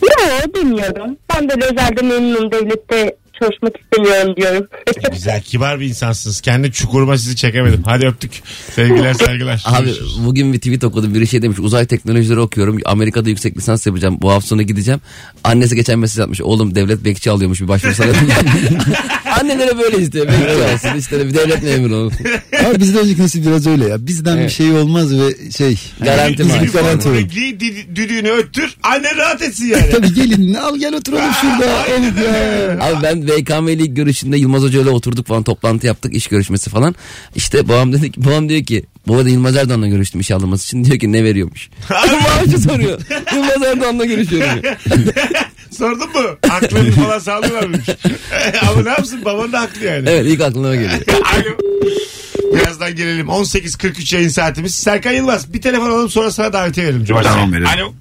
Speaker 9: Yok, bilmiyorum. Ben de özelde memnunum, devlette çalışmak istemiyorum diyorum.
Speaker 2: E, Güzel kibar bir insansınız. Kendi çukuruma sizi çekemedim. Hadi öptük. Sevgiler saygılar.
Speaker 3: Abi
Speaker 2: Görüşürüz.
Speaker 3: bugün bir tweet okudum biri şey demiş uzay teknolojileri okuyorum Amerika'da yüksek lisans yapacağım bu hafta sonu gideceğim. Annesi geçen mesaj atmış oğlum devlet bekçi alıyormuş bir başvursana. Annelere böyle istiyor bekçi olsun işte bir devlet memuru olsun.
Speaker 4: Abi bizden önceki nesil biraz öyle ya. Bizden bir şey olmaz ve şey.
Speaker 3: Garanti
Speaker 4: Yani
Speaker 3: var.
Speaker 4: bizim garanti var.
Speaker 2: Üniformunu giy, dü- düdüğünü öttür. Anne rahat etsin yani.
Speaker 4: Tabii gelin al gel oturalım şurada. Evet ya.
Speaker 3: Abi ben VKM'li ilk görüşünde Yılmaz Hoca ile oturduk falan toplantı yaptık iş görüşmesi falan. İşte babam dedi ki babam diyor ki baba da Yılmaz Erdoğan'la görüştüm iş alınması için diyor ki ne veriyormuş. Maaşı soruyor. Yılmaz Erdoğan'la görüşüyorum. diyor.
Speaker 2: Sordun mu? Aklını falan sağlıyorlar mıymış? Ama ne yapsın baban da haklı yani.
Speaker 3: Evet ilk aklıma geliyor.
Speaker 2: Alo. Birazdan gelelim. 18.43 yayın saatimiz. Serkan Yılmaz bir telefon alalım sonra sana davetiye verelim. Cumartesi.
Speaker 4: Tamam, verelim.
Speaker 2: Alo.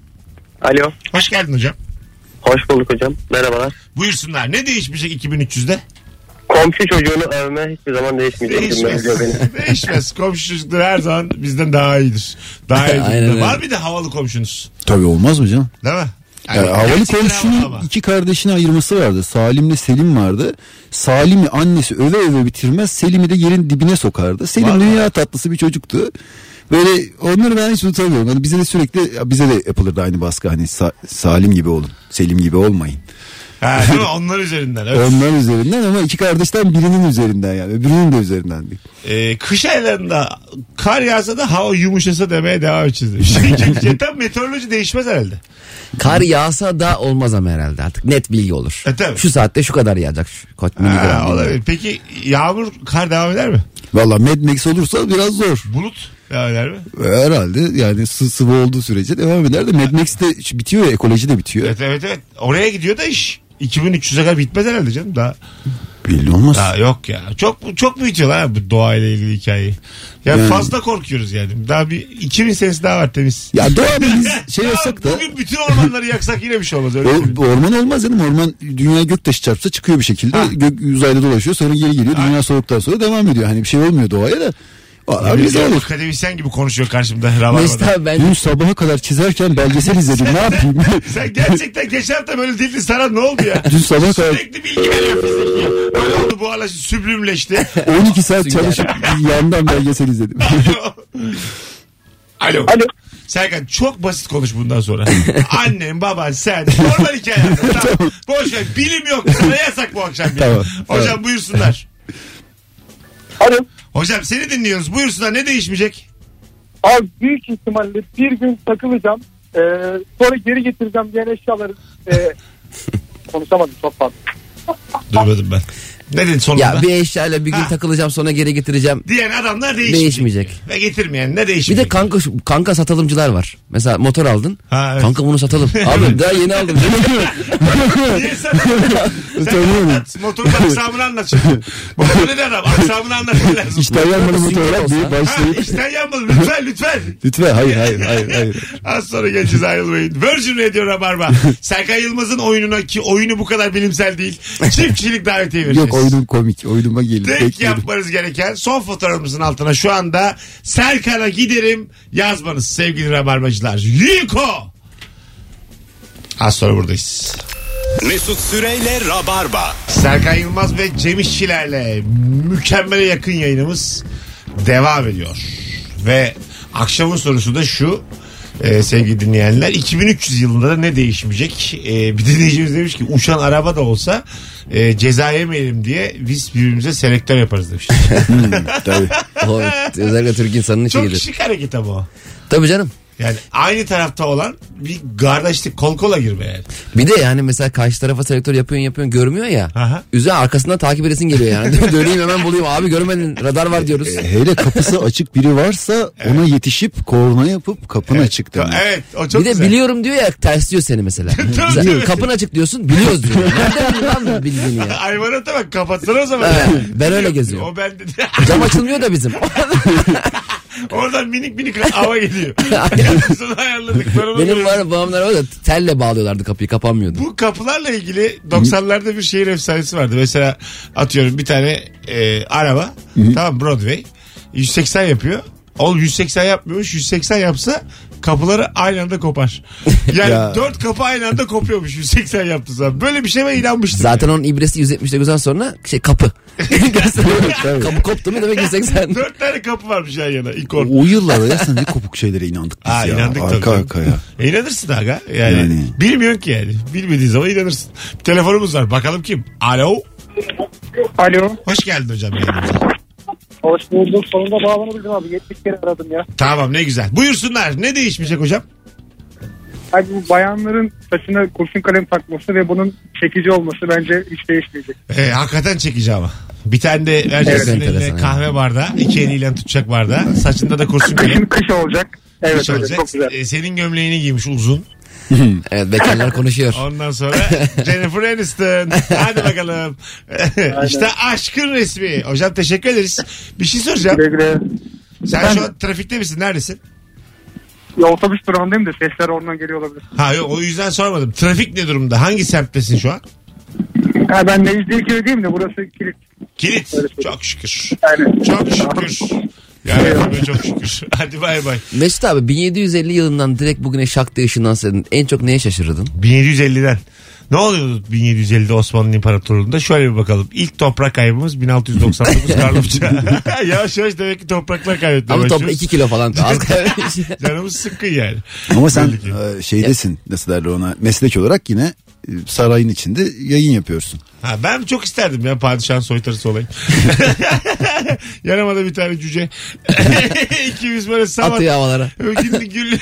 Speaker 5: Alo.
Speaker 2: Hoş geldin hocam.
Speaker 5: Hoş bulduk hocam. Merhabalar.
Speaker 2: Buyursunlar. Ne değişmeyecek 2300'de?
Speaker 5: Komşu çocuğunu övme hiçbir zaman değişmeyecek.
Speaker 2: Değişmez.
Speaker 5: cümle diyor beni.
Speaker 2: Değişmez. Komşu çocukları her zaman bizden daha iyidir. Daha iyidir.
Speaker 3: Aynen öyle.
Speaker 2: Var bir de havalı komşunuz.
Speaker 4: Tabii olmaz mı canım?
Speaker 2: Değil mi?
Speaker 4: Yani havalı
Speaker 2: gerçekten havalı
Speaker 4: komşunun
Speaker 2: ama.
Speaker 4: iki kardeşini ayırması vardı. Salim'le Selim vardı. Salim'i annesi öve öve bitirmez. Selim'i de yerin dibine sokardı. Selim
Speaker 2: Vallahi.
Speaker 4: dünya tatlısı bir çocuktu. Böyle onları ben hiç unutamıyorum. Hani bize de sürekli ya bize de yapılırdı aynı baskı. Hani Sa- Salim gibi olun. Selim gibi olmayın.
Speaker 2: Ha, değil mi? Onlar üzerinden. Evet.
Speaker 4: Onlar üzerinden ama iki kardeşten birinin üzerinden yani. Öbürünün de üzerinden değil.
Speaker 2: Ee, kış aylarında kar yağsa da hava yumuşasa demeye devam edeceğiz. demiş. Çünkü tam meteoroloji değişmez herhalde.
Speaker 3: Kar yağsa da olmaz ama herhalde artık. Net bilgi olur.
Speaker 2: E, tabii.
Speaker 3: Şu saatte şu kadar yağacak. Şu kaç
Speaker 2: Ha,
Speaker 3: miligram.
Speaker 2: olabilir. Peki yağmur kar devam eder mi?
Speaker 4: Valla Mad Max olursa biraz zor.
Speaker 2: Bulut. Devam eder mi?
Speaker 4: Herhalde yani sı- sıvı olduğu sürece devam eder de Mad Max de şu- bitiyor ya ekoloji de bitiyor.
Speaker 2: Evet evet evet. Oraya gidiyor da iş. 2300'e kadar bitmez herhalde canım daha.
Speaker 4: Belli olmaz.
Speaker 2: Daha yok ya. Çok çok büyütüyorlar ha bu doğayla ilgili hikayeyi. Ya
Speaker 4: Yani-
Speaker 2: fazla korkuyoruz yani. Daha bir 2000 senesi daha var temiz.
Speaker 4: Ya doğada biz şey
Speaker 2: Ya
Speaker 4: yapsak da
Speaker 2: Bugün bütün ormanları yaksak yine bir şey olmaz. Öyle değil mi?
Speaker 4: o- orman olmaz canım. Orman dünya göktaşı çarpsa çıkıyor bir şekilde. Gök, uzayda dolaşıyor sonra geri geliyor. Dünya soğuktan sonra devam ediyor. Hani bir şey olmuyor doğaya da. Aa,
Speaker 2: Bir
Speaker 4: güzel olur.
Speaker 2: Akademisyen gibi konuşuyor karşımda. Rabarba'da.
Speaker 3: Mesut abi ben
Speaker 4: Dün sabaha kadar çizerken belgesel izledim. ne yapayım?
Speaker 2: Sen gerçekten geçen hafta böyle dildin sana ne oldu ya?
Speaker 4: Dün sabaha kadar
Speaker 2: Sürekli bilgi veriyor fiziki. Böyle oldu bu alaşı süblimleşti.
Speaker 4: 12 saat çalışıp yandan belgesel izledim.
Speaker 2: Alo. Serkan çok basit konuş bundan sonra. Annen, baban, sen. Normal hikaye. tamam. Boş ver. Bilim yok. Sana yasak bu akşam. ya.
Speaker 4: Tamam,
Speaker 2: Hocam
Speaker 4: tamam.
Speaker 2: buyursunlar.
Speaker 7: Alo.
Speaker 2: Hocam seni dinliyoruz. Buyursunlar. Ne değişmeyecek?
Speaker 7: Abi büyük ihtimalle bir gün takılacağım. Ee, sonra geri getireceğim diyen eşyaları e, konuşamadım çok fazla.
Speaker 2: Duymadım ben. Ne dedin sonunda?
Speaker 3: ya bir eşyayla bir gün takılacağım sonra geri getireceğim.
Speaker 2: Diyen adamlar değişmeyecek.
Speaker 3: Değişmeyecek.
Speaker 2: Ve getirmeyen ne
Speaker 3: Bir
Speaker 2: değişmeyecek?
Speaker 3: de kanka şu- kanka satalımcılar var. Mesela motor aldın.
Speaker 2: Ha, evet.
Speaker 3: Kanka bunu satalım. Abi daha yeni aldım.
Speaker 2: Niye sen-
Speaker 4: Tanıyorum.
Speaker 2: Motorun aksamını anlat şimdi. Motor ne adam? Aksamını anlatman lazım.
Speaker 4: İşten yanmalı fotoğraf diye
Speaker 2: Ha,
Speaker 4: başlayıp.
Speaker 2: işten yanmalı. Lütfen lütfen.
Speaker 4: Lütfen hayır hayır hayır hayır.
Speaker 2: Az sonra geleceğiz ayrılmayın. Virgin Radio Rabarba. Serkan Yılmaz'ın oyununa ki oyunu bu kadar bilimsel değil. Çift kişilik davetiye vereceğiz.
Speaker 4: Yok oyunum komik. Oyunuma gelin.
Speaker 2: Tek
Speaker 4: Bekliyorum.
Speaker 2: yapmanız gereken son fotoğrafımızın altına şu anda Serkan'a giderim yazmanız sevgili Rabarbacılar. Yiko! Az sonra buradayız.
Speaker 1: Mesut Süreyle Rabarba.
Speaker 2: Serkan Yılmaz ve Cem İşçilerle mükemmele yakın yayınımız devam ediyor. Ve akşamın sorusu da şu e, sevgili dinleyenler 2300 yılında da ne değişmeyecek? E, bir dinleyicimiz demiş ki uçan araba da olsa e, ceza yemeyelim diye biz birbirimize selektör yaparız demiş.
Speaker 4: Tabii.
Speaker 3: O, özellikle Türk insanının
Speaker 2: Çok
Speaker 3: şeyidir.
Speaker 2: şık hareket ama o.
Speaker 3: Tabii canım.
Speaker 2: Yani aynı tarafta olan bir kardeşlik kol kola girme yani.
Speaker 3: Bir de yani mesela karşı tarafa selektör yapıyorsun yapıyorsun görmüyor ya.
Speaker 2: Aha.
Speaker 3: Üze arkasından takip edesin geliyor yani. Döneyim hemen bulayım. Abi görmedin radar var diyoruz.
Speaker 4: E, Hele kapısı açık biri varsa ona yetişip korna yapıp kapın açık demek.
Speaker 2: Evet o çok
Speaker 3: bir de
Speaker 2: güzel.
Speaker 3: biliyorum diyor ya ters diyor seni mesela. Mesela
Speaker 2: tabii.
Speaker 3: Kapın açık diyorsun biliyoruz diyor. Nereden bildin lan bildiğini ya.
Speaker 2: Hayvanata bak kapatsana o zaman.
Speaker 3: Evet, ben öyle geziyorum.
Speaker 2: O bende
Speaker 3: Cam açılmıyor da bizim.
Speaker 2: Oradan minik minik hava geliyor. Sonra ayarladık. Ben onu
Speaker 3: Benim
Speaker 2: biliyorum.
Speaker 3: var babamlar var da telle bağlıyorlardı kapıyı kapanmıyordu.
Speaker 2: Bu kapılarla ilgili 90'larda bir şehir efsanesi vardı. Mesela atıyorum bir tane e, araba tamam Broadway 180 yapıyor. Oğlum 180 yapmıyormuş 180 yapsa kapıları aynı anda kopar. Yani
Speaker 4: Ya.
Speaker 2: 4 kapı aynı anda kopuyormuş 180 yaptığı zaman. Böyle bir şeye ben inanmıştım.
Speaker 3: Zaten onun ibresi 179'dan sonra şey kapı. kapı koptu mu demek 180.
Speaker 2: 4 tane kapı varmış yan yana. ikon.
Speaker 4: O yıllarda ya sen ne kopuk şeylere inandık biz
Speaker 2: Ha,
Speaker 4: ya.
Speaker 2: inandık
Speaker 4: arka
Speaker 2: tabii.
Speaker 4: arkaya.
Speaker 2: E inanırsın aga. Yani,
Speaker 4: Yani.
Speaker 2: bilmiyorsun ki yani. Bilmediğin zaman inanırsın. Bir telefonumuz var. Bakalım kim? Alo.
Speaker 7: Alo.
Speaker 2: Hoş geldin hocam. yayınımıza.
Speaker 7: Hoş bulduk. Sonunda bağlanabildim abi. 70 kere aradım ya.
Speaker 2: Tamam ne güzel. Buyursunlar. Ne değişmeyecek hocam?
Speaker 7: Abi bu bayanların saçına kurşun kalem takması ve bunun çekici olması bence hiç değişmeyecek.
Speaker 2: E, hakikaten çekici ama. Bir tane de vereceksin
Speaker 3: Evet,
Speaker 2: eline
Speaker 3: enteresan,
Speaker 2: kahve bardağı. iki eliyle tutacak bardağı. Saçında da kurşun kalem.
Speaker 7: Kışın kış olacak. Evet
Speaker 2: Kış
Speaker 7: öyle,
Speaker 2: olacak.
Speaker 7: çok güzel.
Speaker 2: E, senin gömleğini giymiş uzun.
Speaker 3: Evet bekarlar konuşuyor.
Speaker 2: Ondan sonra Jennifer Aniston. Hadi bakalım. işte aşkın resmi. Hocam teşekkür ederiz. Bir şey soracağım.
Speaker 7: Güle güle.
Speaker 2: Sen
Speaker 7: Ben-
Speaker 2: şu an trafikte misin? Neredesin?
Speaker 7: Ya otobüs durağındayım da sesler oradan geliyor olabilir.
Speaker 2: Ha yok o yüzden sormadım. Trafik ne durumda? Hangi semttesin şu an?
Speaker 7: Ha, ben Necdiye Köyü diyeyim de burası kilit.
Speaker 2: Kilit. Çok şükür.
Speaker 7: Yani.
Speaker 2: Çok şükür. Yani çok şükür. Hadi bay bay.
Speaker 3: Mesut abi 1750 yılından direkt bugüne şak diye ışınlansaydın en çok neye şaşırırdın?
Speaker 2: 1750'den. Ne oluyordu 1750'de Osmanlı İmparatorluğu'nda? Şöyle bir bakalım. İlk toprak kaybımız 1699 Karlıpça. yavaş yavaş demek ki topraklar kaybetmeye
Speaker 3: Ama topla
Speaker 2: başlıyoruz.
Speaker 3: 2 kilo falan az kalmış.
Speaker 2: Canımız sıkkın yani.
Speaker 4: Ama sen
Speaker 2: Belli ki.
Speaker 4: e, şeydesin nasıl derler ona meslek olarak yine e, sarayın içinde yayın yapıyorsun.
Speaker 2: Ha, ben çok isterdim ya padişahın soytarısı olayım. Yanıma da bir tane cüce. İkimiz böyle sabah
Speaker 3: Atıyor havalara.
Speaker 2: Günlük, günlük,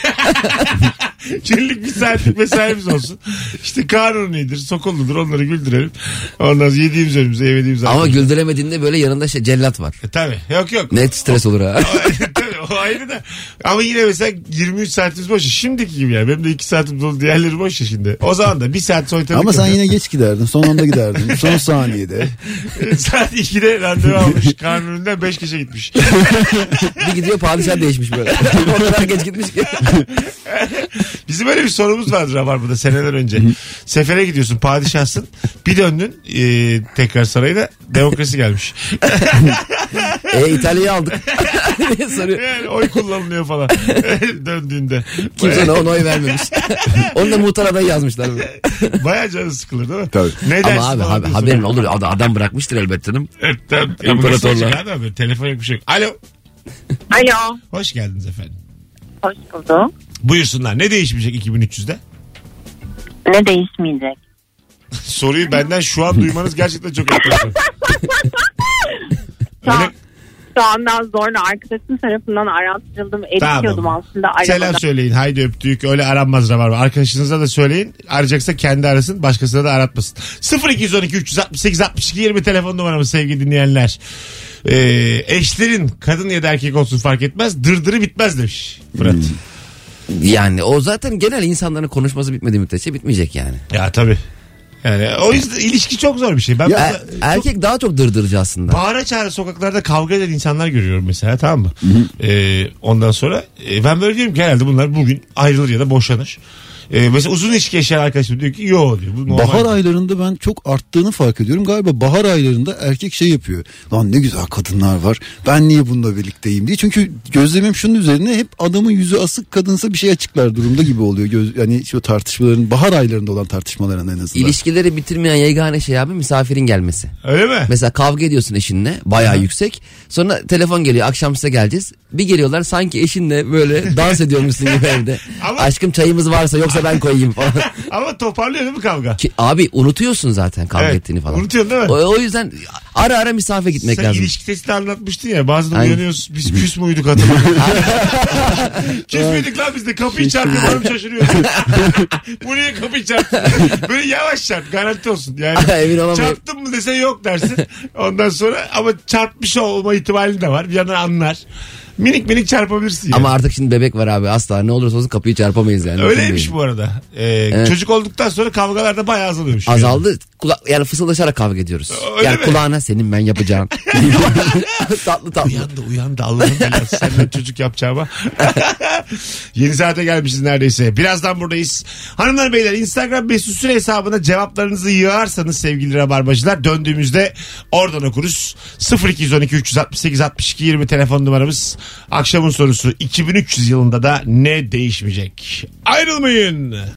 Speaker 2: günlük bir saatlik mesaimiz olsun. İşte kanunidir, sokulludur onları güldürelim. Ondan sonra yediğimiz önümüze, yemediğimiz
Speaker 3: Ama
Speaker 2: arkamıza.
Speaker 3: güldüremediğinde böyle yanında şey cellat var.
Speaker 2: E, tabii. Yok yok.
Speaker 3: Net stres olur ha.
Speaker 2: Tabii, o ayrı da. Ama yine mesela 23 saatimiz boş. Şimdiki gibi ya. Benim de 2 saatim dolu. Diğerleri boş ya şimdi. O zaman da 1 saat soytarlık
Speaker 4: Ama sen
Speaker 2: yapıyor.
Speaker 4: yine geç giderdin. Son anda giderdin. Son saniyede.
Speaker 2: Saat 2'de randevu almış. Kanuninden 5 kişi gitmiş.
Speaker 3: Bir gidiyor padişah değişmiş böyle. o kadar geç gitmiş ki.
Speaker 2: Bizim öyle bir sorumuz vardı Rabarba'da seneler önce. Sefere gidiyorsun padişahsın. Bir döndün e, tekrar sarayda demokrasi gelmiş.
Speaker 3: E İtalya'yı aldık. diye soruyor.
Speaker 2: Yani oy kullanılıyor falan döndüğünde.
Speaker 3: Kimse ona ona oy vermemiş. Onu da muhtar adayı yazmışlar. böyle.
Speaker 2: Baya canı sıkılır değil mi?
Speaker 4: Tabii.
Speaker 2: Ne dersin
Speaker 3: Ama abi,
Speaker 2: falan
Speaker 3: abi
Speaker 2: diyorsun.
Speaker 3: haberin olur. Ad- Adam bırakmıştır elbette canım.
Speaker 2: Evet, tabii. E, bu
Speaker 3: İmparatorlar.
Speaker 2: mesaj geldi ama Telefon yok bir şey yok. Alo.
Speaker 9: Alo.
Speaker 2: Hoş geldiniz efendim.
Speaker 9: Hoş bulduk.
Speaker 2: Buyursunlar. Ne değişmeyecek 2300'de?
Speaker 9: Ne değişmeyecek?
Speaker 2: Soruyu benden şu an duymanız gerçekten çok enteresan.
Speaker 9: Şu an,
Speaker 2: Öyle-
Speaker 9: şu andan zorla arkadaşım tarafından aratıldım. Erişiyordum
Speaker 2: Tamam.
Speaker 9: aslında arabada.
Speaker 2: Selam söyleyin. Haydi öptük. Öyle aranmaz var. Arkadaşınıza da söyleyin. Arayacaksa kendi arasın. Başkasına da aratmasın. 0212 368 62 20 telefon numaramız sevgili dinleyenler. Ee, eşlerin kadın ya da erkek olsun fark etmez. Dırdırı bitmez demiş Fırat.
Speaker 3: Yani o zaten genel insanların konuşması bitmediği müddetçe bitmeyecek yani.
Speaker 2: Ya tabii. Yani o yüzden ilişki çok zor bir şey. Ben
Speaker 3: E-
Speaker 2: mesela çok
Speaker 3: erkek daha çok dırdırıcı aslında.
Speaker 2: bağıra çağıra sokaklarda kavga eden insanlar görüyorum mesela tamam mı? Ee, ondan sonra e, ben böyle diyorum ki herhalde bunlar bugün ayrılır ya da boşanır. Ee, mesela uzun ilişki yaşayan arkadaşım diyor ki yo diyor. Bu normal.
Speaker 4: Bahar aylarında ben çok arttığını fark ediyorum. Galiba bahar aylarında erkek şey yapıyor. Lan ne güzel kadınlar var. Ben niye bununla birlikteyim diye. Çünkü gözlemim şunun üzerine hep adamın yüzü asık kadınsa bir şey açıklar durumda gibi oluyor. Göz, yani şu tartışmaların bahar aylarında olan tartışmaların en azından.
Speaker 3: İlişkileri bitirmeyen yegane şey abi misafirin gelmesi.
Speaker 2: Öyle mi?
Speaker 3: Mesela kavga ediyorsun eşinle bayağı yüksek. Sonra telefon geliyor akşam size geleceğiz. Bir geliyorlar sanki eşinle böyle dans ediyormuşsun gibi evde.
Speaker 2: Ama-
Speaker 3: Aşkım çayımız varsa yoksa ben koyayım falan.
Speaker 2: Ama toparlıyor değil mi kavga?
Speaker 3: Ki, abi unutuyorsun zaten kavga
Speaker 2: Evet,
Speaker 3: ettiğini falan.
Speaker 2: unutuyorsun değil mi?
Speaker 3: O, o yüzden ara ara misafir gitmek
Speaker 2: Sen
Speaker 3: lazım.
Speaker 2: ilişki testini anlatmıştın ya bazen
Speaker 3: Aynen.
Speaker 2: uyanıyoruz biz küs müydük hatırlamıyorum. küs müydük lan biz de kapıyı çarpıyor hanım şaşırıyor. Bu niye kapıyı çarptı? Böyle yavaş çarp garanti olsun. Yani
Speaker 3: Emin olamıyorum.
Speaker 2: Çarptın mı dese yok dersin. Ondan sonra ama çarpmış olma ihtimali de var. Bir yandan anlar. Minik minik çarpabilirsin. yani.
Speaker 3: Ama artık şimdi bebek var abi asla ne olursa olsun kapıyı çarpamayız yani.
Speaker 2: Öyleymiş
Speaker 3: Mümkün
Speaker 2: bu arada. Ee, Çocuk olduktan sonra kavgalar da bayağı azalıyormuş.
Speaker 3: değil. Azaldı. Kula- yani fısıldaşarak kavga ediyoruz.
Speaker 2: Öyle
Speaker 3: yani
Speaker 2: mi?
Speaker 3: kulağına senin ben yapacağım. tatlı tatlı.
Speaker 2: Uyan da uyan da Allah'ım belası senden çocuk yapacağıma. Yeni saate gelmişiz neredeyse. Birazdan buradayız. Hanımlar beyler Instagram mesut süre hesabına cevaplarınızı yığarsanız sevgili rabarbacılar döndüğümüzde oradan okuruz. 0212 368 62 20 telefon numaramız. Akşamın sorusu 2300 yılında da ne değişmeyecek? Ayrılmayın.